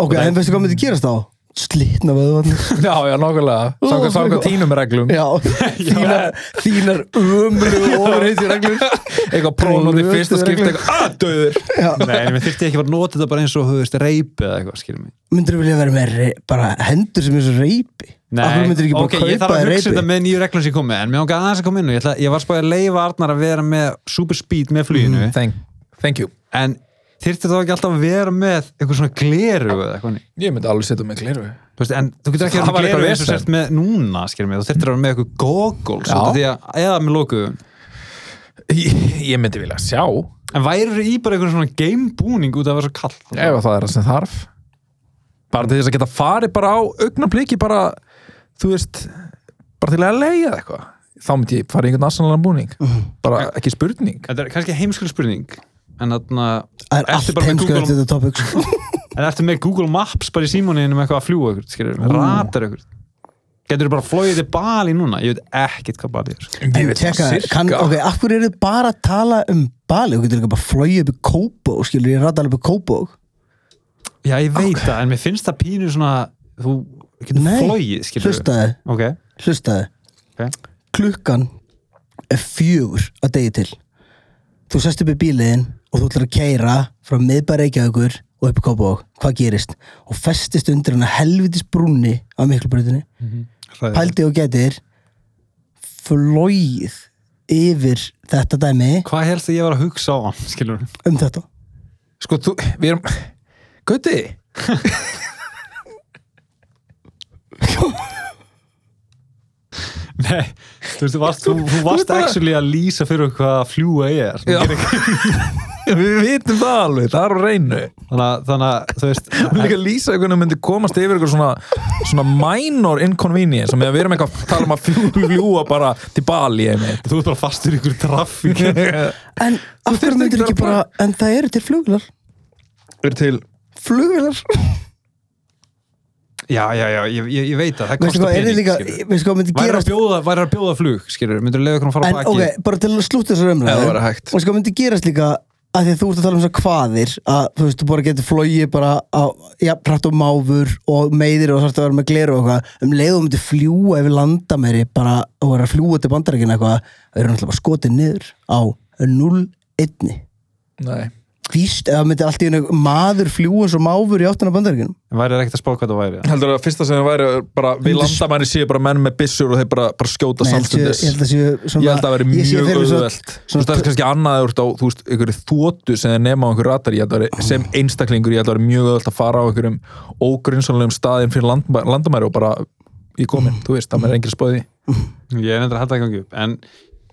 A: Ok, en veistu hvað myndir gerast þá? Slitna vöðvarnir
B: já, já, nákvæmlega
A: Ó,
B: samkvæmt
A: sko.
B: samkvæmt tínum reglum
A: Já, þínar, þínar ömlu ofurheitjur reglur
B: eitthvað prónóti fyrst og skipta eitthvað
C: Ah,
B: að döður
C: Nei, en mér þyrfti ekki bara að nota þetta bara eins og höfðist reip eða eitthvað, skilur mig
A: Myndir þú vilja vera með re- bara hendur sem er svo reypi? Akkur myndir ekki bara
C: ok, ég
A: kaupa
C: þarf að
A: þér
C: hugsa
A: reipi?
C: þetta með nýju reglum sem ég kom með en mér ánka aðeins að koma inn og ég, ætla, ég var spáði að leifa Arnar að vera með super speed með fluginu
A: Mhm.
B: thank, thank you
C: en þyrfti þá ekki alltaf að vera með eitthvað svona gleru eða eitthvað þannig?
B: ég myndi alveg setja mig gleru
C: Þú veist, en þú getur ekki
B: Það
C: að
B: var
C: vera
B: eitthvað
C: gleru eins og
B: vesen.
C: sért með núna skilur mig, þú þyrftir að vera með eitthvað goggles
B: Já.
C: út af því að- eða með lókuðum
B: ég, ég myndi vilja sjá
C: En væri í bara einhvern svona gamebúning út af að vera svo kallt?
B: ef að það er það sem þarf bara til þess að geta farið bara á augnabliki bara, þú veist bara til að leiða eitthvað þá myndi ég fara í einhvern aðsannlega búning
A: Mhm.
B: bara ekki spurning
C: Þetta er kannski heimskul spurning en þarna
A: Það er
C: ertu
A: allt
C: bara með
A: heimsköld
C: Google,
A: þetta topic sko.
C: en ertu með Google Maps bara í símóninu með eitthvað að fljúa ykkur skilur, ratar ykkur Getur þú bara flóið til Bali núna? Ég veit ekkert hvað Bali er sko.
A: En tjekka,
B: sirka.
A: kann, ok, af hverju eru þið bara að tala um Bali? Þú getur líka bara flóið upp í Kópó, skilur ég rata alveg upp í Kópó
C: Já, ég veit það, en mér finnst það pínu svona þú getur
A: Nei,
C: flóið, skilur
A: Hlustaði,
C: Ok,
A: hlustaði
C: ok
A: Klukkan er fjögur að degi til Þú sest upp í bíliðin og þú ætlar að keira frá miðbæra Reykjavíkur og upp í Kópó Hvað gerist? Og festist undir hana helvitis brúnni á miklubröðinni
C: Hræðilegt.
A: Pældi og getur flóið yfir þetta dæmi
C: Hvað helst að ég var að hugsa á hann, skilur
A: um þetta
B: sko, þú, við erum Gauti,
C: Nei, þú veist, þú varst, þú, þú varst
B: bara-
C: actually að lýsa fyrir okkur hvað að fljúa er
B: Já. við vitum það alveg það er á reynu
C: þannig að, þannig að, þú veist
B: og líka lýsa einhvern veginn myndi komast yfir eitthvað svona, svona minor inconvenience og meðan við erum eitthvað að tala um að fljúa, fljúa bara til Bali einmitt
C: Þú ert bara fastur í ykkur traffík
B: er
A: En af hverju
B: þyrftir
A: myndir
B: ekki
A: ekki
B: bara
A: bara En það eru til flugvilar
B: til
A: Flugvilar
C: Já, já, já, ég, ég, ég veit að það
A: Veistu
C: kostar
A: hvað er
C: pening
A: líka
C: skilurðu.
A: Veistu hvað myndir
C: Væri að
A: gerast
C: bjóða, væri að bjóða flug, skilur Myndur leiða okkur að fara
A: En
C: á baki
A: ok, bara til að slúta þessar
B: Ef það
A: umræðu
B: væri hægt.
A: Veistu hvað myndir gerast líka að því að þú ert að tala um svo hvaðir að þú veist, þú bara getur flogið bara á, já, prætt og máfur og meiðir og þarfst að vera með gleru og eitthvað um leiðum myndir fljúa yfir landamæri bara og vera að fljúa til bandarækina eitthvað það eru náttúrulega bara skotið niður á 0-1
B: Nei.
A: víst eða myndi allt í einu maður fljúa svo máfur í áttuna bandarækina
C: En væri það ekkert að spá hvað það væri
B: heldur það að fyrsta sem það væri bara við landamæri séu bara menn með byssur og þeir bara, bara skjóta
A: Nei, ég held sé-
B: samstundis
A: ég held að séu svona-
B: ég held að það væri
A: ég sé
B: mjög
A: fyrir mér svona-
B: auðvelt þú veist það er
A: svona-
B: kannski annað að þú ert á þú veist, einhverju þótu sem þeir nema á einhverju ratar ég held að væri, sem einstaklingur ég held að það væri mjög auðvelt að fara á einhverjum ógrinnsanlegum staðin fyrir landma- landamæri og bara í komin, þú veist, það er engin spöði
C: Ég er nefnir að halda að gangi upp En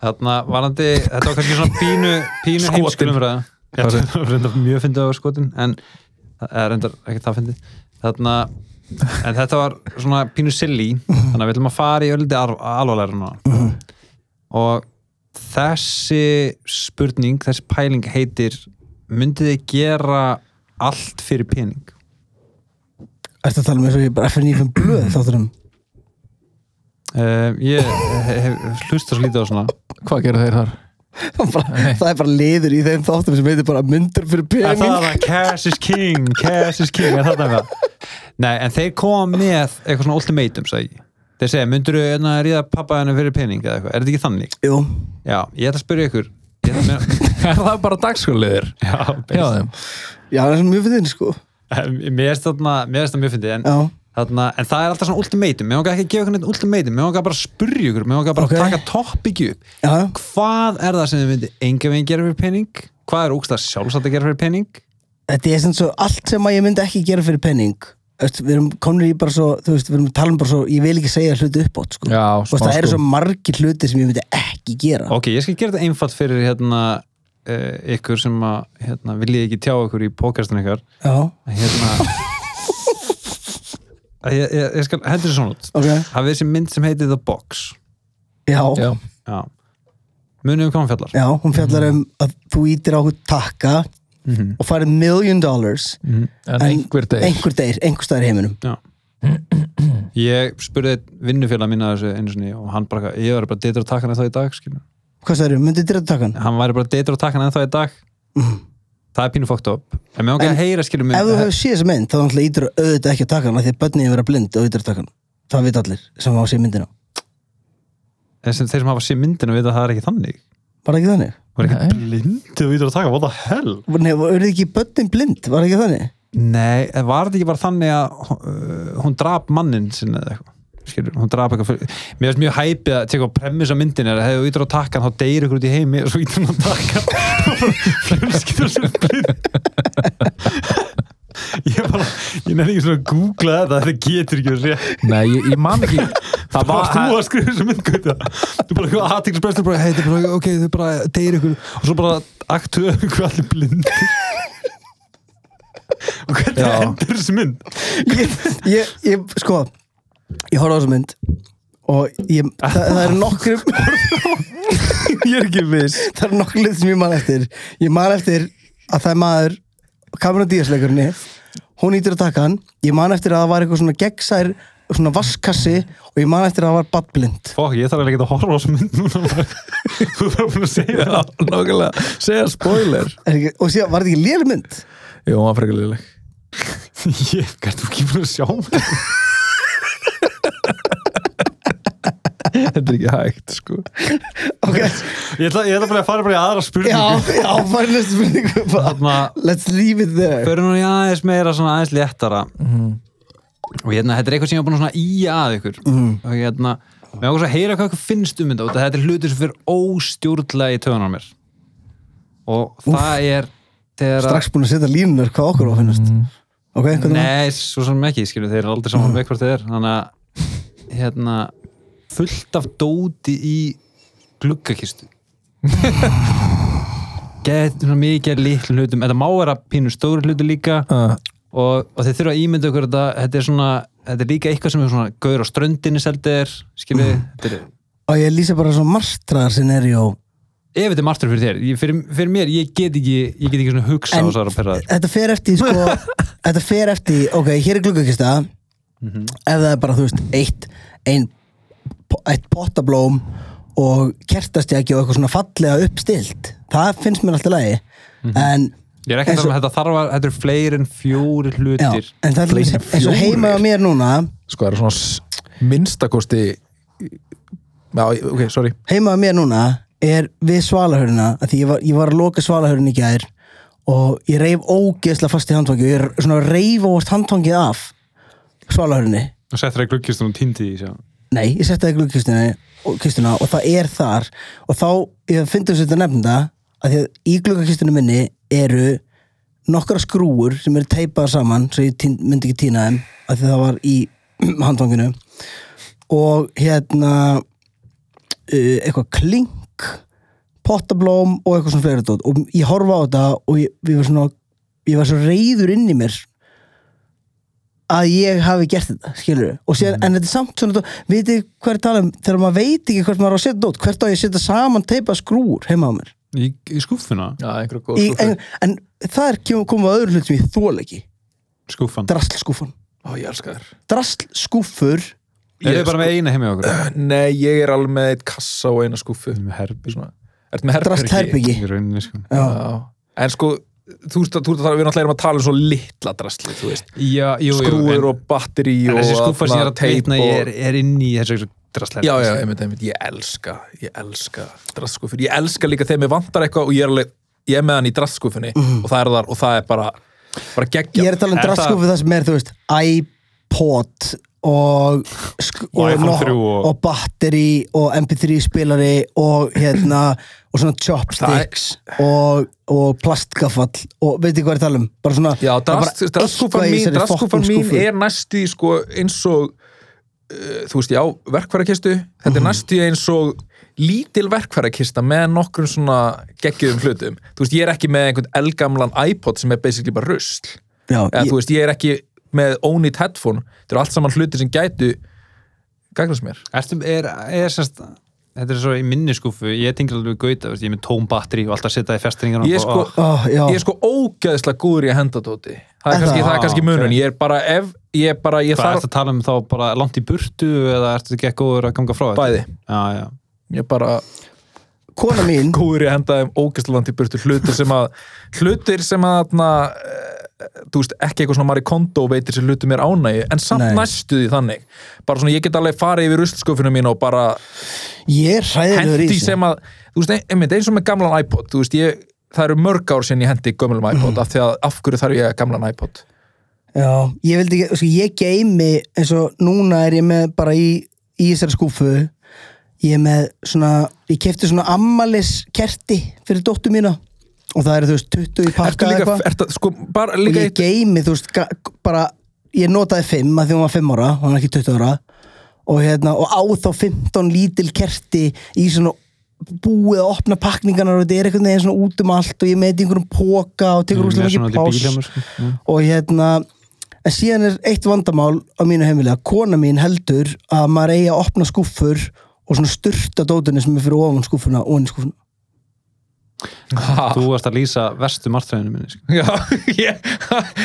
C: þarna varandi, þetta var kannski svona pínu, pínu
B: Skotin.
C: heimskulumræða Já, það var reyndar mjög fyndið á skotin En, eða reyndar ekki það fyndið Þarna, en þetta var svona pínu silly Þannig að við ætlum að fara í öldi alvarlega núna Og þessi spurning, þessi pæling heitir Myndið þið gera allt fyrir pening
A: Ertu að tala um eins og ég bara FNF blöð þátturum
C: uh, ég hef hlusta svo lítið á svona
B: Hvað gera þeir þar?
A: Það er bara- það er bara liður í þeim þáttum sem heitir bara myndur fyrir
C: Er það
A: pening
C: það, cash is king, cash is king, er það það? Nei, en þeir koma með eitthvað svona ultimatum, sagði ég. Þeir segja, myndur þú að ríða pappa hennar fyrir pening eða eitthvað, er þetta ekki þannig?
A: Jú,
C: Já, ég ætla að spyrja ykkur. Ég ætla að meina-
B: Er það bara dagsköluðir?
C: Já,
B: Já,
C: basically.
B: þeim.
A: já, það er mjög fyrir þinn sko
C: En mér erst þarna, mér erst það mjög fyndið, en,
A: Já,
C: þarna, en það er alltaf svona ultimatum, mér vangar ekki að gefa ykkur neitt ultimatum, mér vangar bara að spyrja ykkur, mér vangar bara
A: Ok.
C: að taka toppikju upp.
A: já, já.
C: Hvað er það sem þið myndi enga veginn gera fyrir pening? Hvað er ógst að sjálfsagt að gera fyrir pening?
A: þetta er sem svo allt sem að ég myndi ekki gera fyrir penning Öst, við erum komnir í bara svo þú veist, við erum talað um bara svo, ég vil ekki segja hluti upp átt sko.
B: Já,
A: Þú veist,
B: smá,
A: það eru
B: sko.
A: svo margir hluti sem ég myndi ekki gera
C: Ok, ég skal gera þetta einfalt fyrir hérna uh, ykkur sem að hérna, viljið ekki tjá ykkur í podcastinu ykkar
A: já,
C: að hérna að ég, ég, ég skal hendur þessu svona út
A: ok,
C: hafið þessi mynd sem heitir The Box
A: já,
B: Já,
C: já munum við hvað hann fjallar
A: já hún fjallar
B: Mhm.
A: um að þú ítir á okkur takka
C: Mhm.
A: og farið million dollars
B: en einhver deg
A: einhver deyr, einhver staðar í heiminum
C: já ég spurði vinnufélag mín að þessu einu sinni og hann bara, eitthvað, ég var bara deytur að taka hann eða í dag skilur.
A: hvað staðar eru, myndið dyrra takkan
C: hann væri bara deytur að taka hann eða í dag það er pínu fókt upp en mér
A: Mhm.
C: ákveði
A: En
C: að heyra skilur mig
A: ef þú hefur séð þessa mynd, þá náttúrulega ítir auðvitað ekki á takkan af því að börnin er vera blind og ítir á takkan það veit allir sem á sér myndina
C: en sem þeir sem hafa sé myndinu veit að það er ekki þannig
A: var það ekki þannig?
C: Var ekki
B: Nei.
C: blindu við að taka, what the hell?
A: Nei, eru ekki börnin blind, var það ekki þannig?
C: Nei, en var þetta ekki bara þannig að uh, hún drap mannin sinni eða eitthvað? Skilur, hún drap eitthvað fyrir... Mér finnst mjög hæpið að teka premis á myndin er að hefur ytur á takkan, þá deyr ykkur út í heimi og svo ytur hún á takkan fjölskyldur sem blinn Ég bara, ég nefnir ekki svona að googla þetta, þetta getur ekki verið rétt
B: Nei, ég, ég man ekki Það
C: bara
B: var,
C: þú að skrifa þessu mynd Gauta. þú bara eitthvað aðtiklisbrestur bara, hey, bara, ok, þau bara deyri ykkur og svo bara aktuðu ykkur allir blindir og hvernig
B: Já.
C: endur þessu mynd
A: ég, ég, ég, sko ég horfði á þessu mynd og ég, það, það er nokkru
C: ég er ekki viss
A: það er nokkru lið sem ég man eftir ég man eftir að það er maður Cameron Díaz-leikurni hún ítir að taka hann, ég man eftir að það var eitthvað svona gegnsær, svona vaskassi og ég man eftir að það var badblind
C: Fokk, ég þarf ekki að horfa á þessu mynd núna bara. þú þarf búin að segja það
B: nákvæmlega Segja spoiler
A: Er ekki- og síðan var þetta ekki lél mynd
B: Jú, hann var frekar liðleg
C: ég, hvað þú ekki búin að sjá mig
B: Þetta er ekki hægt, sko
A: ok,
C: ég ætla, ég ætla bara að fara bara í aðra
A: já,
C: spurningu
A: já, bara næstu spurningu bara.
C: þarna,
A: let's leave it there
C: förum við aðeins meira svona aðeins léttara og hérna, þetta er eitthvað sem ég er búin að svona íja að ykkur og hérna, mér ákvæmst að heyra hvað ykkur finnst um þetta og þetta er hlutur sem fyrir óstjórnlega í töðunar mér og það er þegar að,
A: strax búin að Mm. setja línunar hvað okkur á að finnast ok, hvað það
C: nei, svo sem ekki skilur, þeir eru aldrei saman með hvort þeir er þannig að, hérna fullt af dóti í gluggakistu gett svona mikið af litlum hlutum, þetta má vera pínu stóri hluti líka
B: uh,
C: og, og þið þurfa að ímynda ykkur þetta, þetta er svona þetta er líka eitthvað sem er svona gaur á ströndinni seldir, skilvið þetta er,
A: og ég lýsa bara svo martraðar scenario
C: ef þetta er martur fyrir þér ég, fyrir, fyrir mér, ég get ekki ég get ekki svona hugsa
A: En-
C: og svo að perra þér
A: þetta fer eftir sko, þetta fer eftir, ok, hér er gluggakista ef það er bara, þú veist, eitt ein, eitt pottablóm og kertastjaki og eitthvað svona fallega uppstilt það finnst mér alltaf lægi en,
C: ég er
A: En
C: ekki að tala um
A: svo-
C: að þetta þarf að þetta er fleiri en fjóri
A: já,
C: hlutir
A: en það er
B: Fleiri
A: eins og
B: fjórir.
A: heima á mér núna
B: Sko, það er svona s- minnstakosti Já, ok, sorry
A: heima á mér núna er við svalahöruna að því ég var, ég var að loka svalahörun í gær og ég reif ógeðslega fast í handfangi og ég er svona að reifa vort handfangið af svalahörunni
C: og settir það gluggist og týndi því sjá.
A: Nei, ég setti það í gluggakistuna og, og það er þar og þá, ég finnst þess að nefna það að því að í gluggakistunum minni eru nokkra skrúur sem eru teipaðar saman svo ég tín, myndi ekki týna þeim að því það var í handfanginu og hérna uh, eitthvað klink pottablóm og eitthvað svona fleiri dót og ég horfa á þetta og ég, ég var svona ég var svo reyður inn í mér að ég hafi gert þetta, skilur og síðan, en þetta er samt svona, veit ég hver tala um þegar maður veit ekki hvert maður á að setja dót hvert á ég að setja saman teipa skrúur heima á mér
C: í, í skúfuna
B: Já, einhverju
A: í, en, en það er kem- komið að öðru hlut sem ég þól ekki
C: skúfan
A: drastlskúfan
B: Ó, ég elska þér
A: drastlskúfur
C: er
B: Ég
C: þið bara með eina heim í okkur
B: Nei, ég er alveg með eitt kassa og eina skúfu
C: með herbyr
B: Svona. Ertu með herbergi?
A: drastherbergi
C: í rauninni sko
A: já,
B: Já. En sko, þú veist að, þú veist að við náttúrulega erum að tala um svo litla drastli, þú veist
C: já, jú, jú,
B: skrúður
C: en-
B: og batteri
C: en
B: og
C: þessi skúfa sem ég er
B: þarna
C: að
B: teip
C: teitna
B: og-
C: er, er inn í þessu drastlega
B: Já, já, einmitt, einmitt, ég elska ég elska drastskúfur, ég elska líka þegar mér vantar eitthvað og ég er alveg ég er með hann í drastskúfunni og það er þar og það er bara bara geggja
A: Mhm. ég er að tala um
C: Er það-
A: drastlskúfur það sem er þú veist iPod og sk-
C: Og iPhone 3 og-
A: og batteri og MP3 spilari og hérna og svona chopsticks og, og plastgafall og veit ekki hvað ég er að tala um bara svona
B: Já,
A: það er bara
B: drast- drastskúfan
A: eitthvað í
B: mín,
A: þessari
B: drastskúfan
A: fucking
B: mín
A: skúffu.
B: er næstu í, sko eins og uh, þú veist, já, verkfærakistu þetta
A: Mhm.
B: er næstu í eins og lítil verkfærakista með nokkrum svona geggjum hlutum, þú veist, ég er ekki með einhvern elgamlan iPod sem er basically bara rusl
A: já,
B: eða
A: ég,
B: þú veist, ég er ekki með ónýtt headphone, þetta eru allt saman hlutir sem gætu gagnast mér
C: Ertu, er, er sérst, þetta er svo í minni skúfu, ég tengi alveg gauta, veist, ég er með tóm batteri og alltaf að setja í festringar
B: Ég sko-
A: Ó, já,
B: ég er sko ógeðslega góður í að henda dóti það
A: Er
B: er kannski,
A: það?
B: það er kannski
C: Ah,
B: munun
C: ok.
B: ég er bara ef, ég er bara ég
C: Hvað
B: þarf
C: ertu að tala um þá bara langt í burtu eða ertu ekki góður að ganga frá þetta?
B: bæði
C: Já, já.
B: ég er bara sko-
A: kona mín
B: góður í að henda þeim ógeðslega langt í burtu hlutir sem að hlutir sem að na, þú veist ekki eitthvað svona Marie Kondo veitir sem hlutir mér ánægi en samt
A: Nei.
B: næstu því þannig bara svona ég get alveg farið yfir ruslsköfunum mín og bara
A: ég er hræðilegur í
B: hendi
A: þessu
B: sem að þú veist, ein- einmitt eins og með gamlan iPod þú veist, ég, það eru mörg ár sinni ég hendi gömulum
A: Mm.
B: iPod af því að af hverju þarf ég gamlan iPod
A: Já, ég vildi ekki, sko, ég geimi eins og núna er ég með bara í, í þessari skúfu ég er með svona, ég kefti svona ammalis kerti fyrir dóttu mína og það eru þú veist 20 í
B: Ertu
A: pakka eða
B: líka,
A: eitthvað
B: ertu, sko, bara
A: og
B: líka
A: ég geimi þú veist ga- bara, ég notaði 5 að því hún var 5 ára, hún var ekki 20 ára og hérna, og á þá 15 lítil kerti í svona búið að opna pakningarnar og þetta er einhvern veginn svona út um allt og ég er með þetta í einhverjum póka og tekur úrslega
C: Mm, Með svona
A: mikið
C: út í bíl hjá
A: pláss
C: mér, sko. Já.
A: og hérna en síðan er eitt vandamál á mínu heimili að kona mín heldur að maður eigi að opna skúffur og svona styrta dótunni sem er fyrir ofan skúffuna og inn í skúffuna
B: Ha.
C: Þú varst að lýsa verstu martræðinu minni sko.
B: Já, ég,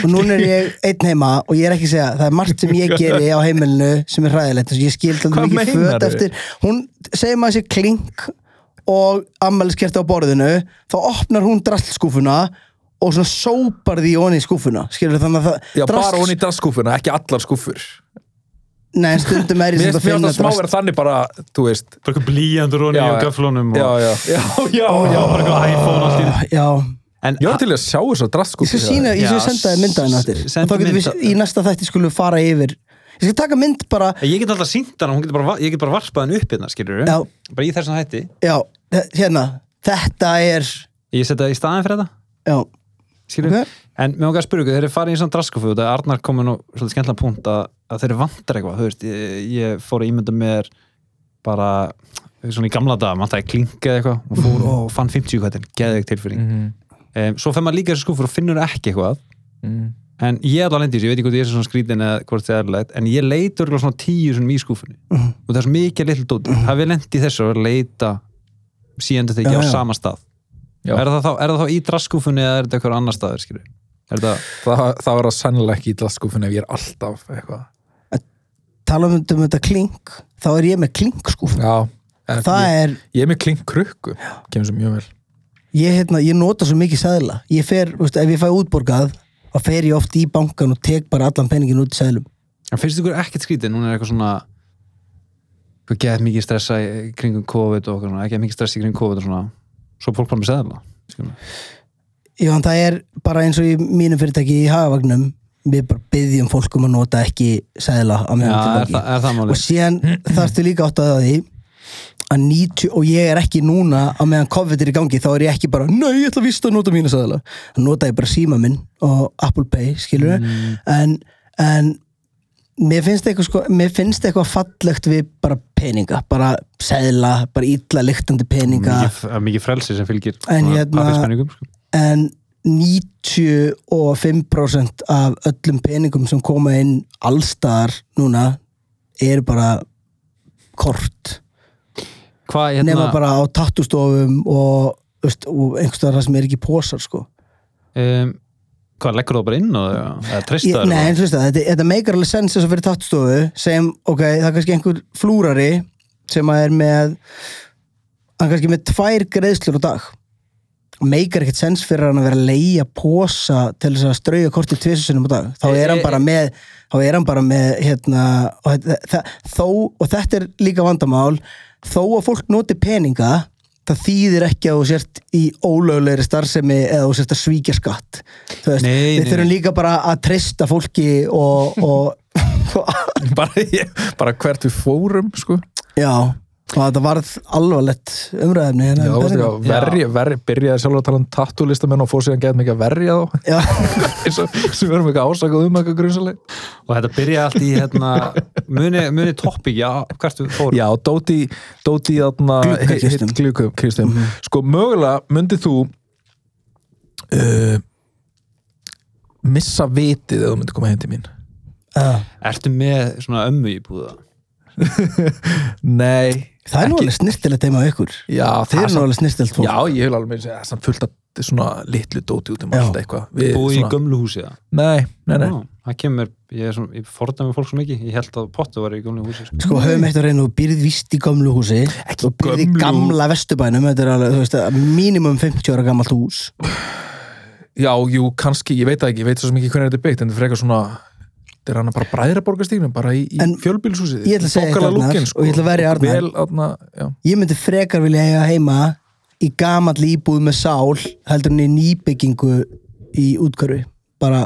A: og núna er ég einn heima og ég er ekki að segja það er margt sem ég geri á heimilinu sem er hræðilegt eins og ég skild
B: Hvað
A: alveg mikið
B: meinarðu?
A: föt eftir hún segir maður sér klink og ammæliskert á borðinu þá opnar hún drastskúfuna og svona sópar því onni í skúffuna skilur þannig að það
B: já bara hún í dasskúfuna, ekki allar skúfur
A: nei en stundum er ég
B: Mér
A: sem
B: finnst
A: það
B: mér
A: finna
B: alltaf smá vera þannig bara, þú veist
C: Bara eitthvað blíjandur
B: Já,
C: honni
B: já.
C: og gaflunum
B: Já,
C: og
B: já, já, já, já
C: bara eitthvað iPhone allt í
A: drast já
C: En
B: Ég var til í að sjá þessar
A: Ég
B: drastskúfur
A: skal sína, ég skal
C: Já,
A: senda þér mynda henni
C: s-
A: aftur
C: sendu
A: og þá getum við
C: mynd af-
A: í næsta þætti skulum fara yfir ég skal taka mynd bara
C: ég get alltaf sínt hana, hún getur bara, va- ég get bara varpað hann upp hérna, skilur
A: Já.
C: Bara í þessum hætti.
A: já, he- hérna, þetta er já,
C: Ég setja það í staðin fyrir þetta, skilur
A: Ok.
C: En mér okkar að spyrja ykkur, þeir eru farin í svona draskofu og það er Arnar komin og svolítið skemmtilega punkt að, að þeir eru vantar eitthvað, þú veist, ég, ég fór að ímynda mér bara svona í gamla dag, mann það er klinkað eitthvað og
A: Mhm.
C: fór og fann 50 hvað þetta, geðveik tilfyrir mm.
B: Mhm,
C: Svo fer maður líka í þessu skúfur og finnur ekki eitthvað
B: mhm.
C: en ég er alveg lendi þessu, ég veit ekki hvort ég er svona skrítin eða hvort það er erlegt, en ég leit örgulega svona tíu svona í skúfunni
A: Mhm.
C: og það er svo mikið litlu dóti, hafið þið lent í þessu að vera að leita síðan þetta
A: Já,
C: ekki á
A: já.
C: sama stað
B: Já.
C: er það, þá, er það þá í draskúfunni eða er þetta eitthvað annar staður skilur? er það
B: Það, það var að sennilega ekki í dasskúfuna ef ég er alltaf eitthvað
A: tala um, um þetta klink þá er ég með klink sko
B: Já, en
A: það
B: ég,
A: er,
B: ég er með klink krukku kemur sem mjög vel
A: ég, hérna, ég nota svo mikið sæðla ég fer, þú veist, ef ég fæ útborgað þá fer ég oft í bankan og tek bara allan penningin út í sæðlum
C: En finnst ykkur ekkert skrítið, núna er eitthvað svona eitthvað geð mikið stressa í í kringum COVID og eitthvað svona, ekki mikið stressa í kringum COVID og svona, svo er fólk bara með seðla skilurðu.
A: já, en það er bara eins og í mínum fyrirtæki í hagavagnum við bara byggjum fólkum að nota ekki sæðla á
C: Já,
A: meðan til
C: er,
A: banki
C: það, er það máli
A: og síðan þarftu líka átt að því að 90, og ég er ekki núna á meðan COVID er í gangi, þá er ég ekki bara nei, ég ætla víst að nota mínu sæðala þá nota ég bara síma minn og Apple Pay skilur en, en mér finnst eitthvað sko, mér finnst eitthvað fallegt við bara peninga bara sæðla, bara illa lyktandi peninga
C: mikið, það er mikið frelsi sem fylgir
A: En
C: svona
A: hérna-
C: pappírspenningum, sko.
A: en 95% af öllum peningum sem koma inn allstar núna er bara kort
C: Hvað,
A: nema
C: hérna,
A: bara á tattustofum og, veist, og einhverstaðar það sem er ekki pósar sko.
C: um, hvað, leggur þú bara inn og eða
A: Ég,
C: treysta
A: nei, en þú veist það, þetta, þetta meikar alveg sens þess að fyrir tattstofu sem, ok, það er kannski einhver flúrari sem að er með hann er kannski með tvær greiðslur á dag meikar ekkert sens fyrir hann að vera að leia posa til þess að strauja kortið tvisunum á dag þá er hann bara með þá er hann bara með hérna, og, þetta- það, þó, og þetta er líka vandamál þó að fólk noti peninga það þýðir ekki að þú sért í ólöglegri starfsemi eða þú sért að svíkja skatt Þú veist, við
C: Nei, nei,
A: þurfum
C: nei.
A: líka bara að treysta fólki og, og
B: bara, ég, bara hvert við fórum sko.
A: já og þetta varð alvarlegt hérna umræðumni
B: já, veist, já, verri,
C: Já.
B: verri, byrjaði sjálfur að tala um tattúlistamenn og fór síðan gett mikið að verja þá
A: já,
B: eins og sem verðum eitthvað ásakað um eitthvað grunsaleg
C: og þetta byrja allt í hérna, muni, muni toppik, já, hvert þú fór
B: já, Dóti, Dóti þarna
A: Gluggakirstum.
B: glúkakristum
A: Mhm.
B: sko mögulega myndið þú uh, missa vitið eða þú myndið koma heim til mín
A: Já.
C: ertu með svona ömmu í búða
B: nei,
A: það er nú alveg snirtilegt teima á ykkur
B: já,
A: þeir eru nú alveg snirtilegt fólk
B: Já, ég vil alveg meira segja samt fullt að svona litlu dóti út um
A: Já.
B: allt eitthvað Við
C: búið í
B: svona-
C: gömlu húsi það
B: Nei, nei, nei
C: Já, það kemur, ég, er svona, ég fordæmi fólk svo mikið ég held að pottu var í gömlu húsi sko.
A: sko höfum eitt að reyna og býrð vist í gömlu húsi
B: Ekki
A: og býrð í
B: gömlu-
A: gamla vesturbænum þetta er alveg, þú veist, mínimum 50 ára gammalt hús
B: Já, jú, kannski, ég veit það ekki, ég veit svo sem ekki hvernig þetta er byggt en þetta er frekar svona þetta er hann bara bræðraborgastígnum, bara í, í
A: En
B: fjölbílshúsið
A: ég ætla að segja eitt,
B: Þokkalega
A: Arnar,
B: lúkin, sko.
A: og ég ætla að verja Arnar.
B: Vel, Arnar, já
A: ég myndi frekar vilja eiga heima í gamall íbúð með sál heldur en í nýbyggingu í útkörfi bara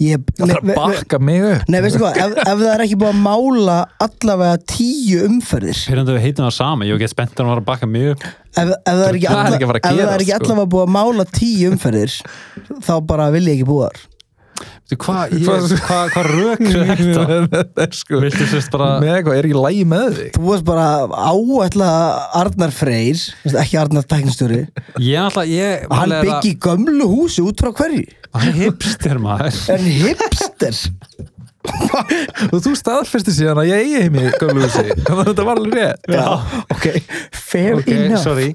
A: ég,
B: Það er að bakka mig upp
A: Nei, veistu hvað, ef, ef það er ekki búið að mála allavega tíu umferðir ef,
C: Pyrrandi við heitum það sama, ég var ekki spennt að hann var að bakka mig upp
A: ef, það er ekki,
B: Það er
A: alla,
B: ekki að fara að
A: ef það er
B: gerast,
A: ekki
B: sko.
A: allavega búið að mála tíu umferðir þá bara vil ég ekki búið þar
C: Veitu, Hvað ég-
B: Hvað-
C: hvað- hvað rök er þetta?
B: Þetta er sko
C: Viltu sérst bara
B: Með eitthvað, er ekki lægi með þig?
A: Þú varst bara áætla Arnar Freyr þú veist, ekki Arnar Tæknstjóri
C: Ég alltaf, ég
A: hann
C: mál er að-
A: byggi gömlu húsi út frá hverju
C: Hann er hipster maður
A: en hipster
B: Og þú staðfesti síðan að ég eigi heimi í gömlu húsi Þannig að þetta var alveg rétt
A: Já, ok, fair
C: Ok,
A: enough
C: sorry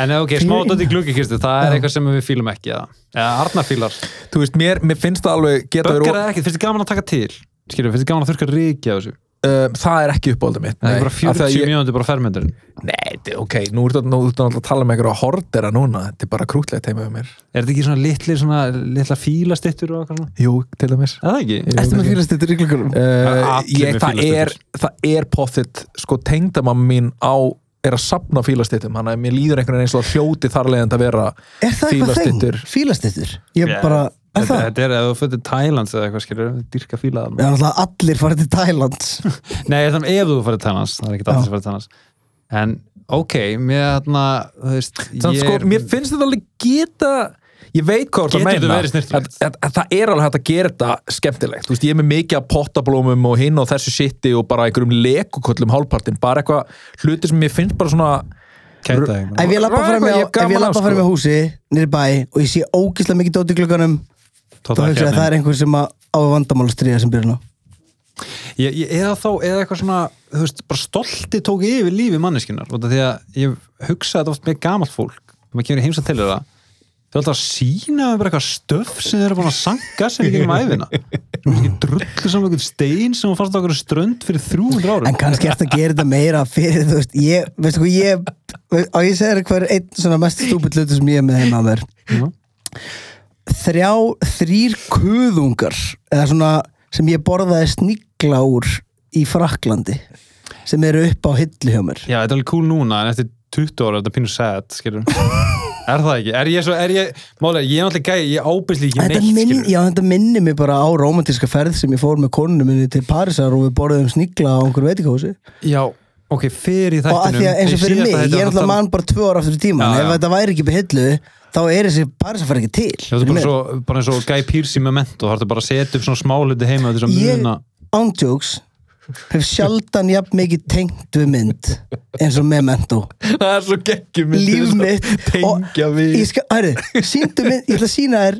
C: En ok, smá dótt í gluggikistu, það er eitthvað sem við fílum ekki eða, eða Arnar fílar
B: Þú veist, mér, mér finnst það alveg geta verið-
C: Böggar eða ekki, finnst þið gaman að taka til Skilur, finnst þið gaman að þurrka ríkja á þessu
B: Uh, það er ekki uppáldið mitt
C: Það er bara
B: Af því að
C: 40
B: ég-
C: mínútur bara fermyndurinn
B: Nei, þetta- ok, nú ertu nú ertu náttúrulega að tala um einhverja hordera núna, þetta er bara krútlegt heima hjá mér
C: Er þetta ekki svona litli, svona litla fílastittur og eitthvað svona?
B: Jú, til dæmis
C: Er það ekki?
A: Ertu með fýrast þetta ríklingurum?
B: uh,
C: Allir
B: ég,
C: með
B: það, er,
C: fílastittur.
B: það er potþitt sko tengdamam mín á er að sapna fílastittum, hann að mér líður einhvern veginn eins og það hljóti þar leiðand að vera
A: Er það eitthvað þeng?
B: fílastittur
A: Fýlastittur? Ég
C: Já,
A: bara, er
C: Þetta
A: það?
C: þetta er að þú fyrir Thailands eða eitthvað skilur, dyrka fílaðan
A: Já, náttúrulega allir farið til Thailands
C: Nei, ég þannig ef þú fyrir Thailands, það er ekki allir sem fyrir Thailands En ok, mér þarna, þú veist
B: Samt,
C: ég
B: sko,
C: er-
B: mér finnst þetta alveg geta ég veit hvað þú ert
C: Getur
B: að
C: þetta
B: meina
C: verið snyrtilegt?
B: að, að það er alveg hægt að gera þetta skemmtilegt Þú veist, ég er með mikið af pottablómum og hinn og þessu sitti og bara einhverjum lekuköllum hálfpartin, bara eitthvað hluti sem ég finnst bara svona
C: Kæta þig, maður.
A: Ef ég lappa
B: Það er
A: fram
B: eitthvað
A: hjá-
B: ég
A: ef
B: hef
A: ég
B: gaman
A: lappa
B: af,
A: fram
B: sko.
A: með húsi niður í bæ og ég sé ógislega mikið dót í glögganum þá
C: Tóta
A: hugsa ég að það er einhver sem að á vandamál að stríða sem hérna. byrja nú
C: Ég, ég, eða þá, eða eitthvað svona, þú veist, bara stolti tók yfir lífi manneskinnar og það því að ég hugsa þetta oft með gamalt fólk þegar maður kemur í heimsa til þeirra þau er alltaf að sína með bara eitthvað stöf sem þeir eru búin að sanga sem við gerum æfina ekki drullu saman einhvern stein sem hún fannst á okkur strönd fyrir 300 árum
A: en kannski ertu að gera þetta meira fyrir þú veist, ég, veistu hvað ég og ég segir hver einn svona mest stúpill hluti sem ég er með heima að mér
C: Já.
A: þrjá, þrýr kuðungar eða svona sem ég borðaði snigla úr í Fraklandi sem eru upp á hillu hjá mér
C: Já, þetta er alveg cool núna en eftir 20 ára er þetta pínu sad, skilur Er það ekki? Er ég svo, er ég málega, ég er náttúrulega gæði, ég ábyrst líki
A: Þetta,
C: neitt,
A: minn,
C: skilur
A: já, þetta minni mig bara á romantíska ferð sem ég fór með konunum minni til Parísar og við borðum snigla á einhverju veitingahúsi
C: Já, ok, fyrir í
A: og að því
C: þættinum
A: að eins
C: í
A: og fyrir
C: síðasta
A: mig,
C: þætti
A: ég er alltaf
C: var hann að tala-
A: mann bara tvö ára aftur í tíma
C: Já,
A: ef
C: já.
A: þetta væri ekki behillu þá er þessi Parísar ekki til
C: Já, þetta er
A: fyrir
C: bara,
A: mér.
C: svo, bara eins og Guy Pearce í Memento þarf þetta bara að setja upp svona smáluti heima til þess að
A: Ég-
C: muna
A: ándjóks hef sjaldan jafn mikið tengt við mynd eins og Memento
B: það er svo geggjum
A: líf mitt
B: tengja
A: og
B: við
A: ég, skal, æri, sýndu mynd, ég ætla að sína þér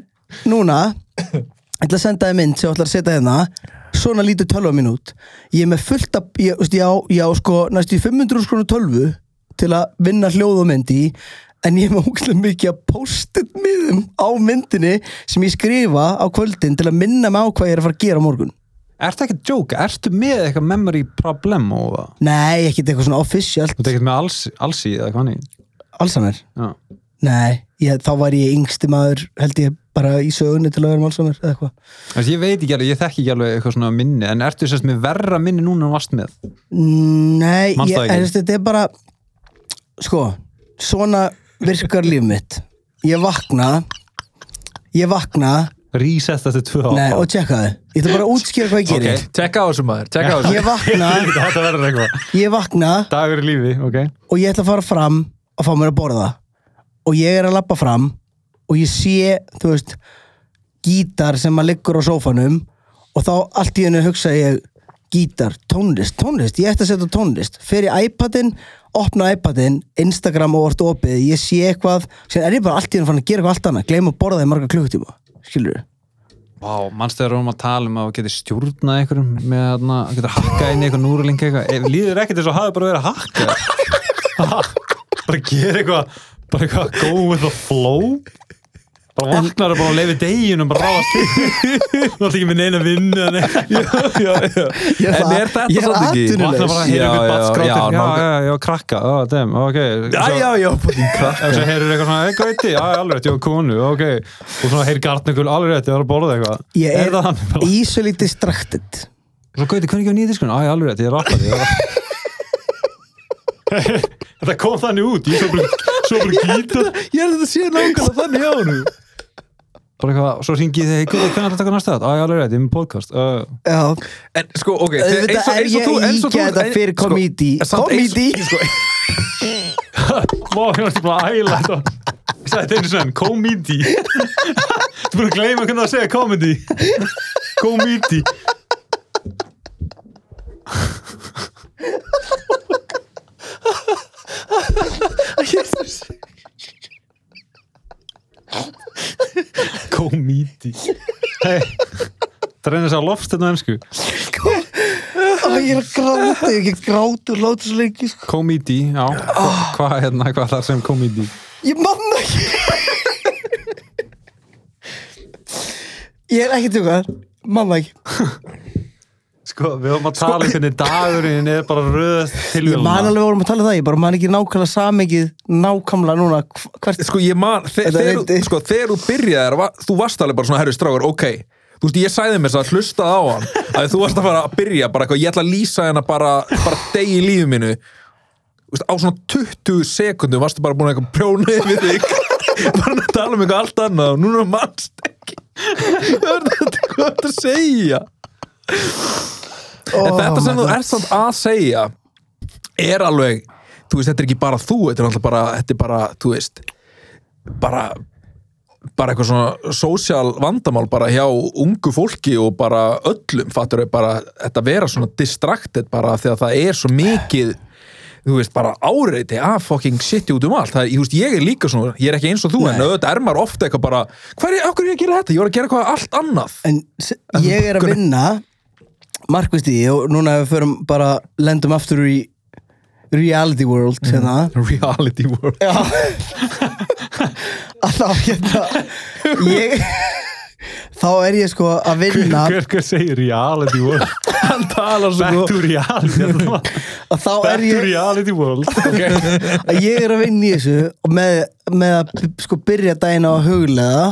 A: núna ég ætla að senda þér mynd sem ég ætla að setja hérna svona lítið tölva mín út ég er með fullt af, ég, þú veist, ég á, ég á sko næstu í 500 skrona tölvu til að vinna hljóð og mynd í en ég er með ógæslega mikið að post-it miðum á myndinni sem ég skrifa á kvöldin til að minna mig á hvað ég er að fara að gera á morgun
C: Ertu ekki að djóka? Ertu með eitthvað memory problem og það?
A: nei, ekkert eitthvað svona official
C: Þú tekist með alls, alls í það, hvað hann í?
A: Alzheimer,
C: Já.
A: nei ég, þá var ég yngsti maður, held ég bara í sögunni til að vera með Alzheimer eða eitthvað
C: Þessi, ég veit ekki alveg, ég þekki ekki alveg eitthvað svona minni, en ertu sérst með verra minni núna en þú varst með?
A: Nei,
C: Manstu
A: ég,
C: það ekki?
A: en veistu, þetta er bara sko, svona virkar líf mitt ég vakna ég vakna
C: Reset eftir tvö
A: nei, og tjekka það, ég ætla bara að útskýra hvað ég
B: Ok,
A: gerir
B: tjekka á þessu maður, tjekka á þessu
A: ég vakna,
C: Þetta verður eitthvað.
A: ég vakna
C: Dagur í lífi, ok.
A: og ég ætla að fara fram að fá mér að borða og ég er að lappa fram og ég sé, þú veist gítar sem að liggur á sófanum og þá allt í hennu hugsa ég gítar, tónlist, tónlist ég ætti að setja tónlist, fer í iPadin opna iPadin, Instagram og orð opið, ég sé eitthvað sem er ég bara allt í hennu fann að gera eitthvað allt annað, gleym að borða í marga klukkutíma, skilur
C: Vá, mannstu þegar við vorum að tala um að þú getur stjórnað einhverjum með þarna, að getur hakkað inn í eitthvað núrlinga eitthvað, Ef líður ekkert eins og hafi bara verið að hakka Ha, bara gera eitthvað bara eitthvað go with the flow bara vaknar og bara leiði deginum bara ráðast þú ætti ekki með neina vinnu eða neitt.
B: já, já.
A: Ég er
B: En
A: það-
B: er
A: ég
B: þetta
A: er
B: svolítið ekki?
A: atvinnulaus.
C: vaknar bara að heyra
B: já,
C: eitthvað
B: já,
C: batskrátir já,
B: nákvæmlega.
C: já, já, krakka, ó, dem, ok
B: já, já, já, fucking krakk
C: og svo heyrur eitthvað svona, eitthvað veitir, já, alveg rétt, já, konu, ok og svona heyr gartningul, alveg rétt, ég var að borða eitthvað
A: ég
C: er það hann?
A: er easily distracted
C: Og Svo gauti, hvernig gefur nýja diskun? Æ, alveg rétt, ég er rappari ég er rappari. Þetta kom þannig út Ég svo bara, svo bara gítar
B: Ég held að þetta sé nákvæmlega þannig á hennu
C: Bara eitthvað, svo ringi ég þegar Gauti, hvernig er þetta að taka næsta þátt? Æ, alveg rétt, ég er með podcast uh,
A: já,
B: En sko, ok, þe-
A: Auðvitað
B: eins
A: er
B: og, eins og
A: ég
B: þú eins og þú-
A: ýkja þetta
B: en-
A: fyrir
B: sko,
A: komedi.
B: en samt eins-
A: Komedi.
B: sko,
C: Má, ég var bara að æla þetta Ég sagði þetta einu svona, komedi Þú búin að gleyma hvernig það að segja komedi Komedi Komedi Hei Það reynir þess að lofst þetta ennsku
A: Ó, ég er að gráta, ég er ekki grátur láta svo lengi, sko.
C: Komedi, já Hva- Hvað hérna, hvað þar sem komedi
A: ég manna ekki ég er um ekki tjókar manna ekki,
C: Sko, við höfum að tala um hvernig dagurinn er bara röð
A: ég man
C: tilvíðan
A: alveg við vorum að tala um það, ég bara man ekki nákvæmlega samengið nákvæmlega núna hv- hvert
B: Sko, ég man, þe-
A: Þetta
B: þegar
A: reyndi.
B: þú- sko, þegar þú byrjaðir va- þú varst alveg bara svona herri strákur, ok Þú veist, ég sæði mér þess að hlusta á hann að þú varst að fara að byrja bara eitthvað, ég ætla að lýsa hennar bara, bara deg í lífi mínu Þú veist, á svona 20 sekundum varstu bara búin að eitthvað prjóna yfir þig bara að tala um eitthvað allt annað og núna mannst ekki hvað er þetta hvað ertu að segja
A: Oh
B: en þetta sem þú ert samt að segja er alveg þú veist, þetta er ekki bara þú þetta er alltaf bara, þetta er bara, þú veist bara bara eitthvað svona sósjál vandamál bara hjá ungu fólki og bara öllum fattur þau bara þetta vera svona distracted bara þegar það er svo mikið þú veist bara áreiti að fucking shiti út um allt það, ég, þú veist, ég er líka svona, ég er ekki eins og þú en auðvitað er maður ofta eitthvað bara hvað er, okkur er ég að gera þetta, ég var að gera eitthvað allt annað
A: en s- ég er að vinna markvist í því og núna ef við förum bara lendum aftur í reality world hérna
B: reality world
A: Já Að þá hérna Ég Þá er ég sko að vinna
C: Hver, hver segir reality world?
B: hann talar
C: Back
B: svo
C: to reality hérna. Back
A: Og þá er
C: to
A: ég
C: reality world
A: að Ég er að vinna í þessu Og með, með að b- sko byrja daginn á að huglega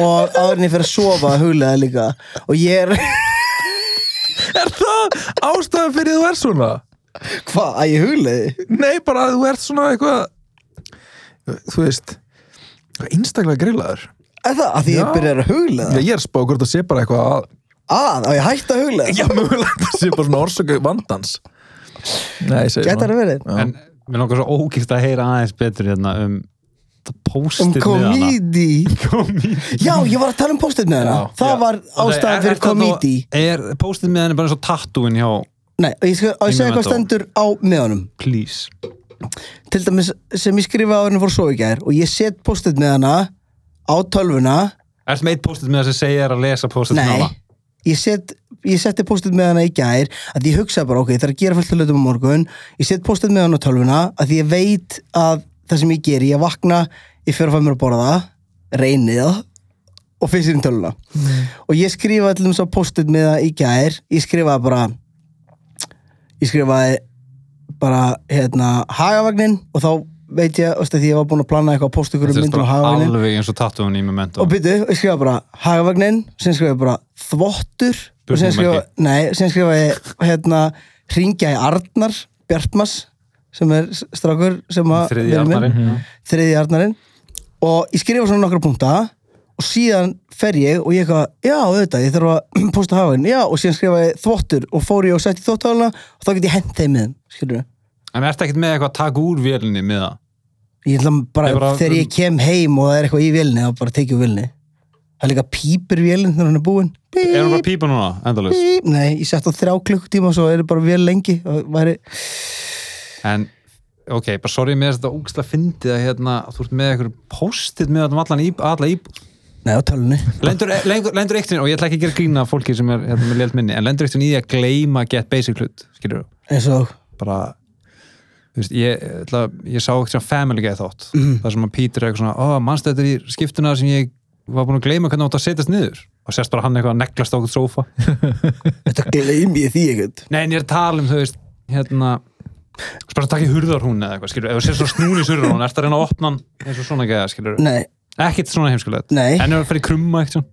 A: Og áðurinn ég fyrir að sofa að huglega líka Og ég er
B: er það ástæðan fyrir þú ert svona
A: Hvað? Að ég hugleði?
B: Nei, bara að þú ert svona eitthvað Þú veist eitthvað Einstaklega grillaður
A: Er það? Að því
B: Já.
A: ég byrjar að
B: Já,
A: huglega?
B: ég er spáð hvort það sé bara eitthvað að
A: Að? Á ég hætti að huglega?
B: Já, mögulega það sé bara svona orsöku vandans Nei, ég segi
A: Gæti það verið?
B: Já.
C: En mér langar svo ógist að heyra aðeins betur hérna um það
A: Um
C: post-it
A: komídi
C: komídi
A: Já, ég var að tala um post-it með hana
B: Já.
A: Það var ástæðan fyrir komídi
C: Er post-it með henni bara eins og tattúin hjá
A: Nei, og ég skal og ég segja hvað
C: Memento.
A: stendur á meðanum
C: Please
A: til dæmis sem ég skrifaði á henni fór svo í gær og ég set post-it með hana á tölvuna
C: Ertu með eitt post-it með þess að segja er að lesa post-it með
A: Nei,
C: hana?
A: ég, set, ég seti post-it með hana í gær að ég hugsaði bara, ok, það er að gera fullt af hlutum á morgun ég set post-it með hana á tölvuna að ég veit að það sem ég geri, ég vakna ég fyrir að fæða mér að borða það, reyni það og fyrst sér í töluna
C: Mm.
A: og ég skrifaði til þess að postið með það í gær ég skrifaði bara ég skrifaði bara hérna hagavagnin og þá veit ég, veist að því ég var búin að plana eitthvað að posta ykkur um
C: Þetta er
A: myndur á
C: bara
A: hagavagnin
C: alveg eins og tattuðun í Memento
A: og byrju, ég skrifa bara hagavagnin sem skrifa ég bara þvottur og sem skrifa, nei, sem skrifa ég hérna, ringja í Arnar Bjartmas, sem er s- strákur sem að
C: þriði
A: vinur minn
C: arnarinn
A: þriði arnarinn og ég skrifa svona nokkra punkta og síðan fer ég og ég eitthvað já, auðvitað, ég þarf að posta hafinn já, og síðan skrifa ég þvottur og fór ég og sett í þvottáðuna og þá get ég hent þeim með þeim skilur
C: en ertu ekkert með eitthvað að taka úr vélinni með það
A: ég ætla bara,
C: Ég bara- um-
A: þegar ég kem heim og það er eitthvað í vélni, þá bara tekið vélni það er líka pípur vélinn þegar hann er búinn
C: er hún
A: Bíp,
C: bara að pípa núna, endalaust
A: bíp. nei, ég sett á þrjá klukkutíma og svo er bara vél lengi og væri,
C: en ok, bara sorry með þetta ógstlega fyndið að hérna, þú ert með eitthvað postið með þetta um allan íb, alla íb
A: nei, á tölunni
C: lendur, eh, lengur, lendur eittin, og ég ætla ekki að gera grína fólki sem er hérna, með lélt minni, en lendur eittin í því að gleyma get basic hlut, skilur
A: eins og,
C: bara þú veist, ég, ætla, ég sá eitthvað family guy þátt, mm. það sem að Peter er eitthvað svona, ó, manstu þetta er í skiptuna sem ég var búin að gleyma hvernig átt að setjast niður og sérst bara hann eitthvað að neglast á okkur sófa
A: þetta gleymi ég því ekkert
C: nei, en ég er að tala um, þú veist, hérna þú bara að taka í hurðarhún eða eitthvað, skilur ef þú sér svo snúni í hurðarhún, ert að reyna að opna hann eins og svona gæða, skilur,
A: nei,
C: ekkert svona heimskulegt
A: Nei.
C: en ef það fyrir krumma eitthvað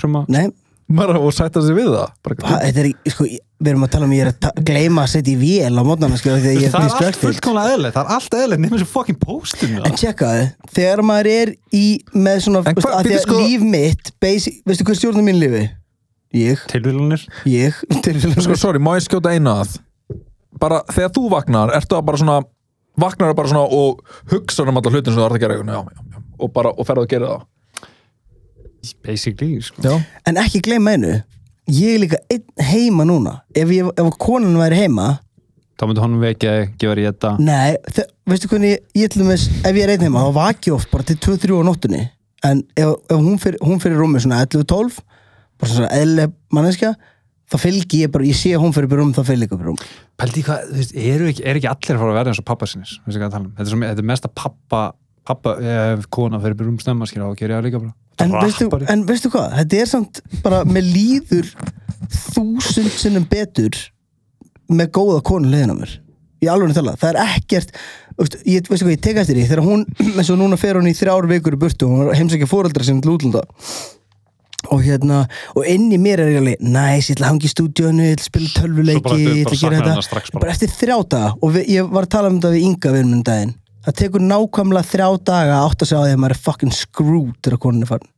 C: krumma,
A: nei,
B: Maður og sætta sig við það
A: Ha,
B: bara,
A: þetta er, ekki- sko, ég- við erum að tala um ég er að ta- gleyma að setja í vél á mótnana sko, þegar ég er
C: það er allt
A: distracted
C: fullkomlega eðlilegt það er allt eðlilegt, nefnir sem fucking postum
A: en tjekkaðu, þegar maður er í með svona,
B: En
A: veist,
B: hva-
A: að því
B: bíddu,
A: að
B: sko-
A: líf mitt basic, veistu hvað stjórnum mín lífi? ég,
C: tilvílanir
A: ég
B: sko, sorry, má ég skjóta eina að bara þegar þú vaknar, ertu að bara svona vaknar bara svona og hugsa um alla hlutin sem þú ert að gera já, já, já, og bara, og ferðu að gera það
C: basically, sko
B: já,
A: en ekki gleyma einu ég er líka einn heima núna ef, ég, ef konan væri heima
C: þá myndi honum vekja, þig, gefa þér í þetta
A: nei, þe- veistu hvernig ég- ég ætlum þess, ef ég er einn heima, þá vaki ég oft bara til 2-3 á nóttunni en ef, ef hún fyrir, hún fyrir rúmi svona 11-12 bara svona eðlileg manneskja þá fylgi ég bara, ég sé að hún fyrir upp í rúm þá fylgi ég upp í rúm
C: Pældi í hvað, þú veist, eru ekki, er ekki allir að fara að verða eins og pappa sinnis, veistu hvað ég er að tala um þetta er, svo, þetta er mesta pappa, pappa eh, kona fyrir byrjum snemma, skilja, og gera ég það líka bara
A: en veistu,
C: Rappari.
A: en veistu hvað, þetta er samt bara, með líður þúsund sinnum betur með góða konu liðin á mér í alveg tala, það er ekkert veist, ég, veistu hvað, ég tek eftir því, þegar hún eins og núna fer hún í þrjár vikur í burtu hún er heimsækja fóreldra sinni til útlunda og hérna, og inn í mér er ég alveg næs, ég ætla að hangi í stúdíónu ég ætla að spila
C: Svo bara
A: tölvuleiki,
C: ertu
A: ég ætla að
C: bara
A: gera
C: saknar
A: þetta
C: hennar strax bara.
A: bara eftir þrjá daga, og við, ég var að tala um þetta við Inga við minn daginn, það tekur nákvæmlega þrjá daga að átta sig á því að maður er fucking screwed þegar konin er farin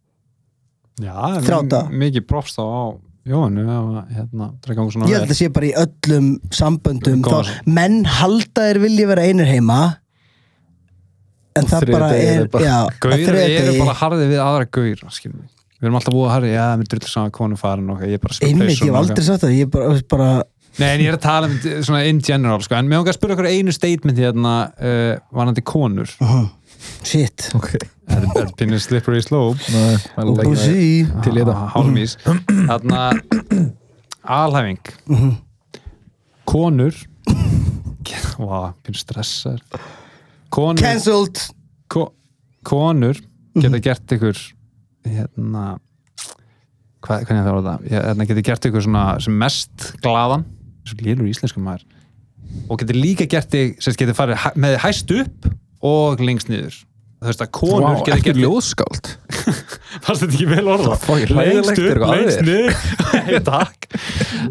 C: Já,
A: Þrjá daga.
C: mi- mikið proffs þá á Jóhannu, eða, hérna, það er gangu svona
A: ég held að sé bara í öllum samböndum
C: Góða
A: þá, menn halda þeir vilja vera einir heima en
B: Og
A: það
B: þriðja
A: bara
B: degi
A: er
B: er bara-
A: já, að
C: Gauður
A: þriðja
C: eru
A: degi-
C: bara harðið við aðra gauður, skiljum við erum alltaf búið að harðið, já, mér drullu saman konu farin og ég er bara að spila
A: einmitt,
C: peysu
A: ég hef
C: og
A: aldrei sagt það ég er bara, bara
C: Nei, en ég er að tala um d- svona in general, sko, en mér hókar að spyrja okkur einu statement hérna, uh, varandi konur
A: Oh. shit
B: ok
C: Þetta er- þetta er pinnið slippery slope
B: Nei, I like that.
A: Búsí.
B: til í þetta.
C: hálmís þarna alhæfing
A: Mhm.
C: konur vá, pínu stressar konur
A: cancelled
C: ko, konur geta
B: Mhm.
C: gert ykkur hérna hvað, hvernig það var það Ég- hérna geta gert ykkur svona sem mest glaðan svo lélur íslensku maður og geta líka gert þig sem sagt, geta farið hæ- með þig hæst upp og lengst niður þú veist að konur
B: Vá,
C: geta
B: ertu
C: gert þig-
B: ljóðskáld
C: fannst þetta ekki vel orða
B: Það er fucking hræðilegt, er eitthvað að þér?
C: niður Nei, takk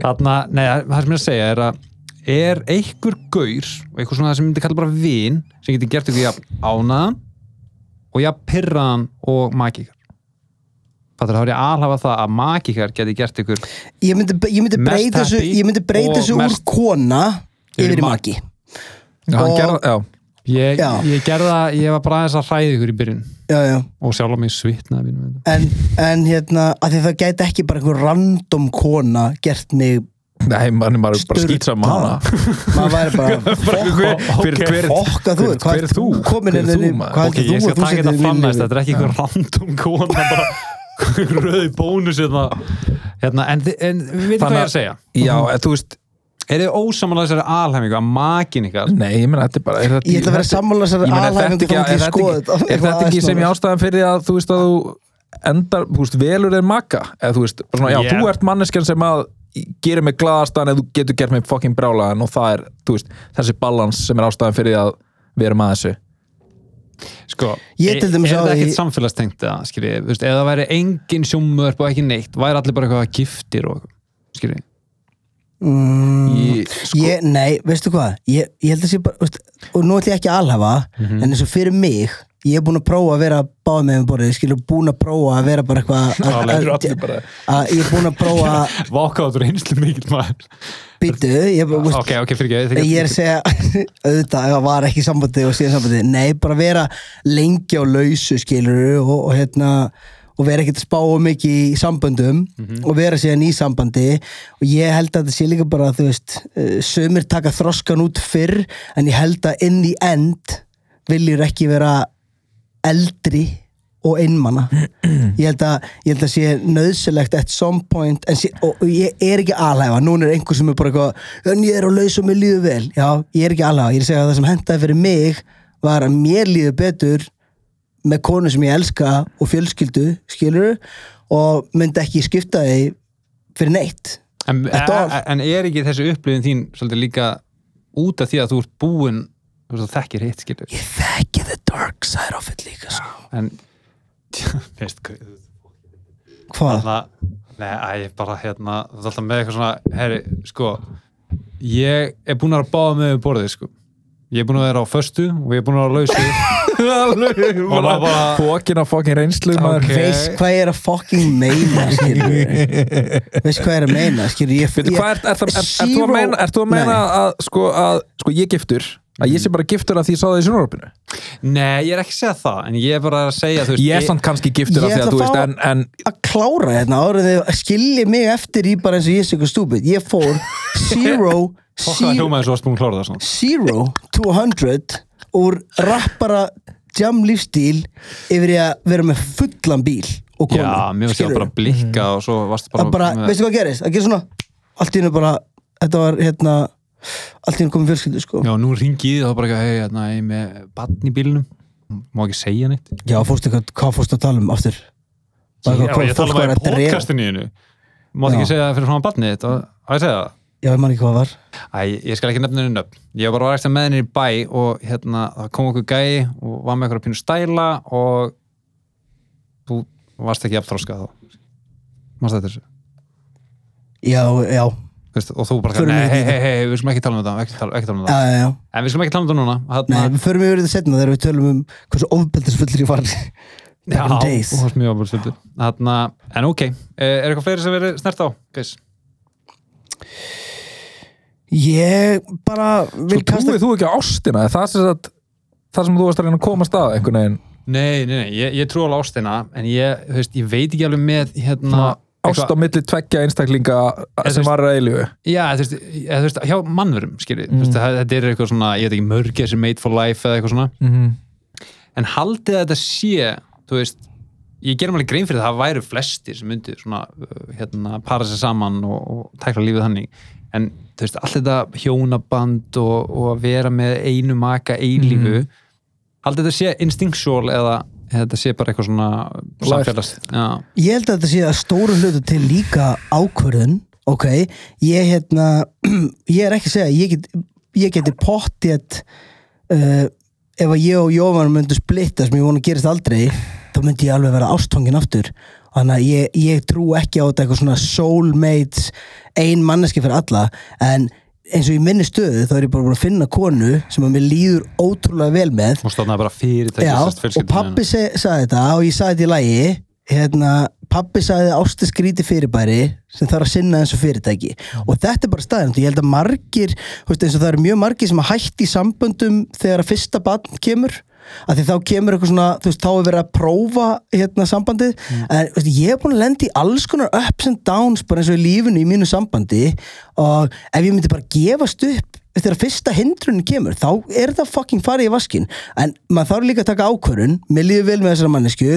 C: Þarna, nei, það sem ég er að segja er að er einhver gaur og einhver svona það sem ég myndi kalla bara vin sem getur gert ykkur jafn ánaðan og jafn pirraðan og makikar Fattur, þá er ég að alhafa það að makikar geti gert ykkur
A: ég myndi, ég myndi
C: Mest
A: breyta þessu,
C: happy
A: ég myndi breyta
C: og
A: þessu úr
C: mest-
A: kona
C: Yfir í
A: yfir í
C: maki.
A: maki
B: Já, hann
A: Og-
B: gerði- já.
C: ég,
A: Já.
C: ég gerða, ég var bara aðeins að hræði ykkur í byrjun
A: já, já.
C: og sjálf að mig svitnaði mínum þetta
A: En, en hérna að því það gæti ekki bara einhver random kona gert mig
B: Nei, mann er maður bara
A: Sturla.
B: skýt saman hana
A: maður væri bara
B: Hver- hver- hver-
A: fokka þú,
B: hver-
A: hvað
B: hver
A: ert þú komin
B: Hver
A: inn
B: er þú,
A: í-
B: maður?
A: hvað-
C: Ok,
A: heldur þú
C: ég
A: að
C: skal
A: þú
C: taka
A: setir
C: þetta
A: í
C: fram
A: lífi?
C: næst, þetta er ekki einhver random kona bara rauði bónus hérna, hérna en, þi- en við veitum
B: Þannig að-
C: hvað ég er að segja
B: Já, eða þú veist
C: Er þið ósamanlega þessari alhæmingu að makin ykkar?
B: Nei, ég meina, þetta er bara er þetta,
A: Ég ætla að vera
B: þetta-
A: sammála þessari
B: Ég meina, er þetta
A: alhæfingu
B: ekki-
A: þangað til ég
B: er þetta
A: skoða
B: ekki-
A: þetta.
B: Er þetta ekki sem ég ástæðan fyrir því að þú veist að þú endar, þú veist, velur er maka eða þú veist, bara svona, já,
C: Yeah.
B: þú ert manneskjan sem að gerir mig glaðastan eða þú getur gert mig fucking brálaðan og það er, þú veist, þessi balans sem er ástæðan fyrir því að við erum að þessu
C: Sko,
A: Ég til dæmis
C: er
A: á
C: það
A: því-
C: ekkert samfélagstengt eða, skilji, þú veist, ef það væri engin sjómörp og ekki neitt, væri allir bara eitthvað giftir og, skilji,
B: Í-
A: Mm,
B: sko,
A: ég, nei, veistu hvað ég, ég held að sé bara, veist, og nú ætlum ég ekki að alhafa
B: Mhm.
A: en eins og fyrir mig ég er búin að prófa að vera báð með um borðið ég skilur búin að prófa að vera bara eitthvað að-
B: Það eru
A: að-
B: allir bara-
A: að- ég er búin að prófa að
C: vákáður einslu mikill maður.
A: býtu ég, er bara, veist,
C: ok, ok, fyrir ekki,
A: ég er að segja auðvitað, ef það var ekki í sambandi og síðan sambandi, nei, bara vera lengi á lausu skilur og, og hérna og vera ekkert að spá um mikið í samböndum og vera síðan í sambandi og ég held að þetta sé líka bara þú veist, eh, sumir taka þroskan út fyrr en ég held að inn í end viljur ekki vera eldri og einmana ég held að, ég held að sé nöðsilegt at some point en sé, og, og ég er ekki alhæfa, núna er einhver sem er bara eitthvað en ég er á laus og mér líður vel já, ég er ekki alhæfa, ég er að segja að það sem hendaði fyrir mig var að mér líður betur með konu sem ég elska og fjölskyldu, skilur og myndi ekki skipta því fyrir neitt
C: En,
A: Þetta var-
C: en- en er ekki þessi upplifin þín svolítið líka út af því að þú ert búin þú veist, þú þekkir hitt skilur
A: ég þekki the dark side of it líka sko.
C: en veist hvað
A: hvað?
C: þarna, nei, æ, ég bara hérna þú ert alltaf með eitthvað svona herri, sko, ég er búin að vera báða með um borðið sko ég er búin að vera á föstu og ég er búin að vera á lausu Og maður bara-
B: fókin á fókin reynslu maður.
C: Ok.
A: veist hvað ég er að fucking meina skilur veist hvað ég er að meina skilur ég,
B: Veitu,
A: ég,
B: hvað ert- ert- ert- ert þú
A: Zero-
B: að meina, ert þú að, meina að, sko, að sko, ég giftur að
A: Mm.
B: ég sé bara giftur að því ég sá það í sjónvarpinu
C: nei, ég er ekki að segja það en ég er bara að segja þú veist,
B: ég er samt kannski giftur
A: Ég
B: af því
A: ætla
B: að þú
A: að
B: veist
A: fá-
B: en, en
A: að klára hérna árið þið skilji mig eftir í bara eins og ég sé eitthvað stúbid ég fór zero
C: fokkaða
A: zero-
C: hljómaði svo að spún klára það svona
A: zero to hundred úr rappara jam lífstíl yfir í að vera með fullan bíl og konu
C: já, mér finnst ég
A: Skilurðu?
C: að bara blikka og svo varstu bara,
A: að bara,
C: með-
A: veistu hvað gerist, að gera svona allt í hennu bara, þetta var hérna allt í hennu komið fjölskyldu sko
C: já, nú ringi ég þá bara ekki hei, hérna, ég er með barn í bílnum má ekki segja neitt
A: já, fórstu eitthvað, hvað fórstu að tala um aftur Bara
C: Já,
A: eitthvað hvað
C: ég tala
A: fólk
C: bara
A: var
C: í
A: að drepa.
C: podcastinu þínu. Mátt ekki
A: Já.
C: segja það fyrir svona barnið þitt og- Á ég að segja það?
A: já, ég man ekki hvað var
C: Æ, ég skal ekki nefna henni nöfn Ég var bara var ekstra með henni í bæ og hérna, það kom okkur gæi og var með eitthvað pínu stæla og þú varst ekki afþróska þá Mást þetta þessu?
A: já, já,
C: Veist, og þú bara,
A: Förum
C: nei,
A: ekki
C: hei,
A: í
C: hei, hei, við skulum ekki tala um þetta ekki tala, ekki tala um
A: já,
C: þetta
A: já, já
C: En við skulum ekki tala um þetta núna
A: Nei,
C: hérna,
A: við förum yfir þetta setna þegar við tölum um hversu ofbeldisfullir ég var
C: Já,
A: Back in days.
C: þú varst mjög ábúrstundur hérna, En ok, er eitthvað fleiri sem verið snert á? Guys?
A: Ég bara vil
B: Svo trúið þú ekki á ástina það, sem sagt, það sem þú varst að reyna að komast að einhvern veginn
C: Nei, nei, nei, ég, ég trú alveg ástina en ég, þú veist, ég veit ekki alveg með hérna,
B: svona ást á milli tveggja einstaklinga
C: Eða, þú
B: sem
C: veist-
B: var að eilífu
C: já, þú veist, eða, þú veist, hjá mannverum skilji, þú veist, það- þetta er eitthvað svona ég veit ekki, mörgir sem made for life eða eitthvað svona en haldið að þetta sé þú veist, ég gerum alveg grein fyrir það það væru flestir sem myndu svona uh, hérna, para sér saman og, og tækla lífið þannig, en þú veist, allt þetta hjónaband og, og að vera með einu maka eilífu haldið þetta sé instinctual eða eða þetta sé bara eitthvað svona
B: Lært.
C: samfélags já
A: Ég held að þetta sé að stóru hlutu til líka ákvörðun Ok, ég hérna Ég er ekki að segja Ég, get, ég geti pottið uh, Ef að ég og Jóvan myndu splitta sem ég vona að gerist aldrei þá myndi ég alveg vera ástfangin aftur Þannig að ég, ég trú ekki á þetta eitthvað svona soulmates ein manneski fyrir alla en eins og í minni stöðu þá er ég bara búin að finna konu sem að mér líður ótrúlega vel með
C: Hún stofnaði bara fyrirtæki
A: Já,
C: sem sagt
A: og
C: fjölskyldunni
A: pappi
C: hennar.
A: seg, sagði þetta og ég sagði þetta í lagi hérna, pappi sagði ástu skríti fyrirbæri sem þarf að sinna eins og fyrirtæki og þetta er bara staðin, ég held að margir þú veist, eins og það eru mjög margir sem að hætti í samböndum þegar að fyrsta barn kemur að því þá kemur eitthvað svona þú veist, þá er verið að prófa hérna sambandið en þú veist, ég er búin að lenda í alls konar ups and downs bara eins og í lífinu í mínu sambandi og ef ég myndi bara gefast upp þegar fyrsta hindrunin kemur þá er það fucking farið í vaskin en maður þarf líka að taka ákvörun mér líður vel með þessara mannesku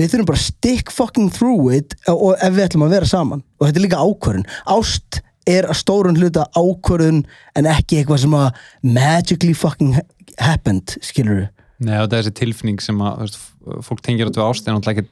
A: við þurfum bara að stick fucking through it og og ef við ætlum að vera saman og þetta er líka ákvörun ást er að stórun hluta ákvörðun en ekki eitthvað sem að magically fucking ha- happened skilur
C: Nei, og það er þessi tilfinning sem að þú veist, f- fólk tengir átt við ástin og ekki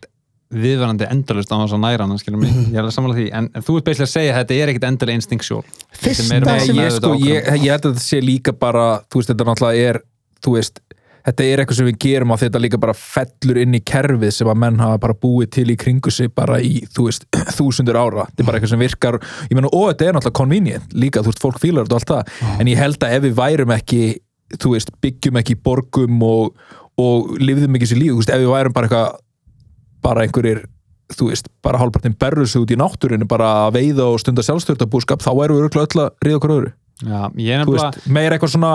C: viðvarandi endalust á þess að næra hann skilur mig, ég er alveg samanlega því en, en þú ert beislega að segja að þetta er ekkit endalega instinktsjól
A: Fyrsta
B: Nei,
A: sem-
B: ég, sko, ég, ég held að þetta sé líka bara þú veist, þetta náttúrulega er þú veist, þetta er eitthvað sem við gerum að þetta líka bara fellur inn í kerfið sem að menn hafa bara búið til í kringu sig bara í, þú veist, þúsundur ára þetta er bara eitthvað sem virkar, ég meina, og þetta er náttúrulega convenient líka, þú veist, fólk fílar þetta og allt það en ég held að ef við værum ekki þú veist, byggjum ekki í borgum og, og lifðum ekki sér líf, þú veist, ef við værum bara eitthvað bara einhverjir þú veist, bara hálfpartin berru sig út í náttúrinu bara að veiða og stunda sjálfstjórnabúskap þá erum við örugglega öll að ríða okkur öðru
C: Já, ég er
B: þú
C: nefnilega
B: veist, meir eitthvað svona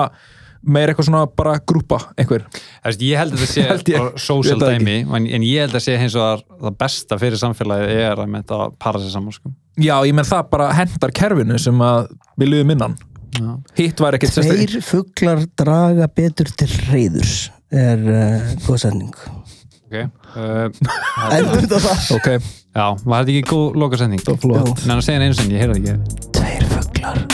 B: meir eitthvað svona bara grúpa einhver
C: Þú veist, ég held að þetta sé
B: Held ég.
C: bara social
B: Ég veit það
C: dæmi en, en ég held að sé hins vegar það besta fyrir samfélagið er að með þetta para sér saman sko.
B: já, ég menn það bara hendar kerfinu sem að við liðum innan
C: Já.
B: hitt var ekkert sérstaklega
A: Tveir fuglar draga betur til reyðurs er uh, góð setning
C: okay. uh,
A: Endur þetta það
B: ok,
C: Já, var þetta ekki góð lokasending?
B: flott
C: Nei, að segja hann einu sinni, ég heyrði það ekki
A: Tveir fuglar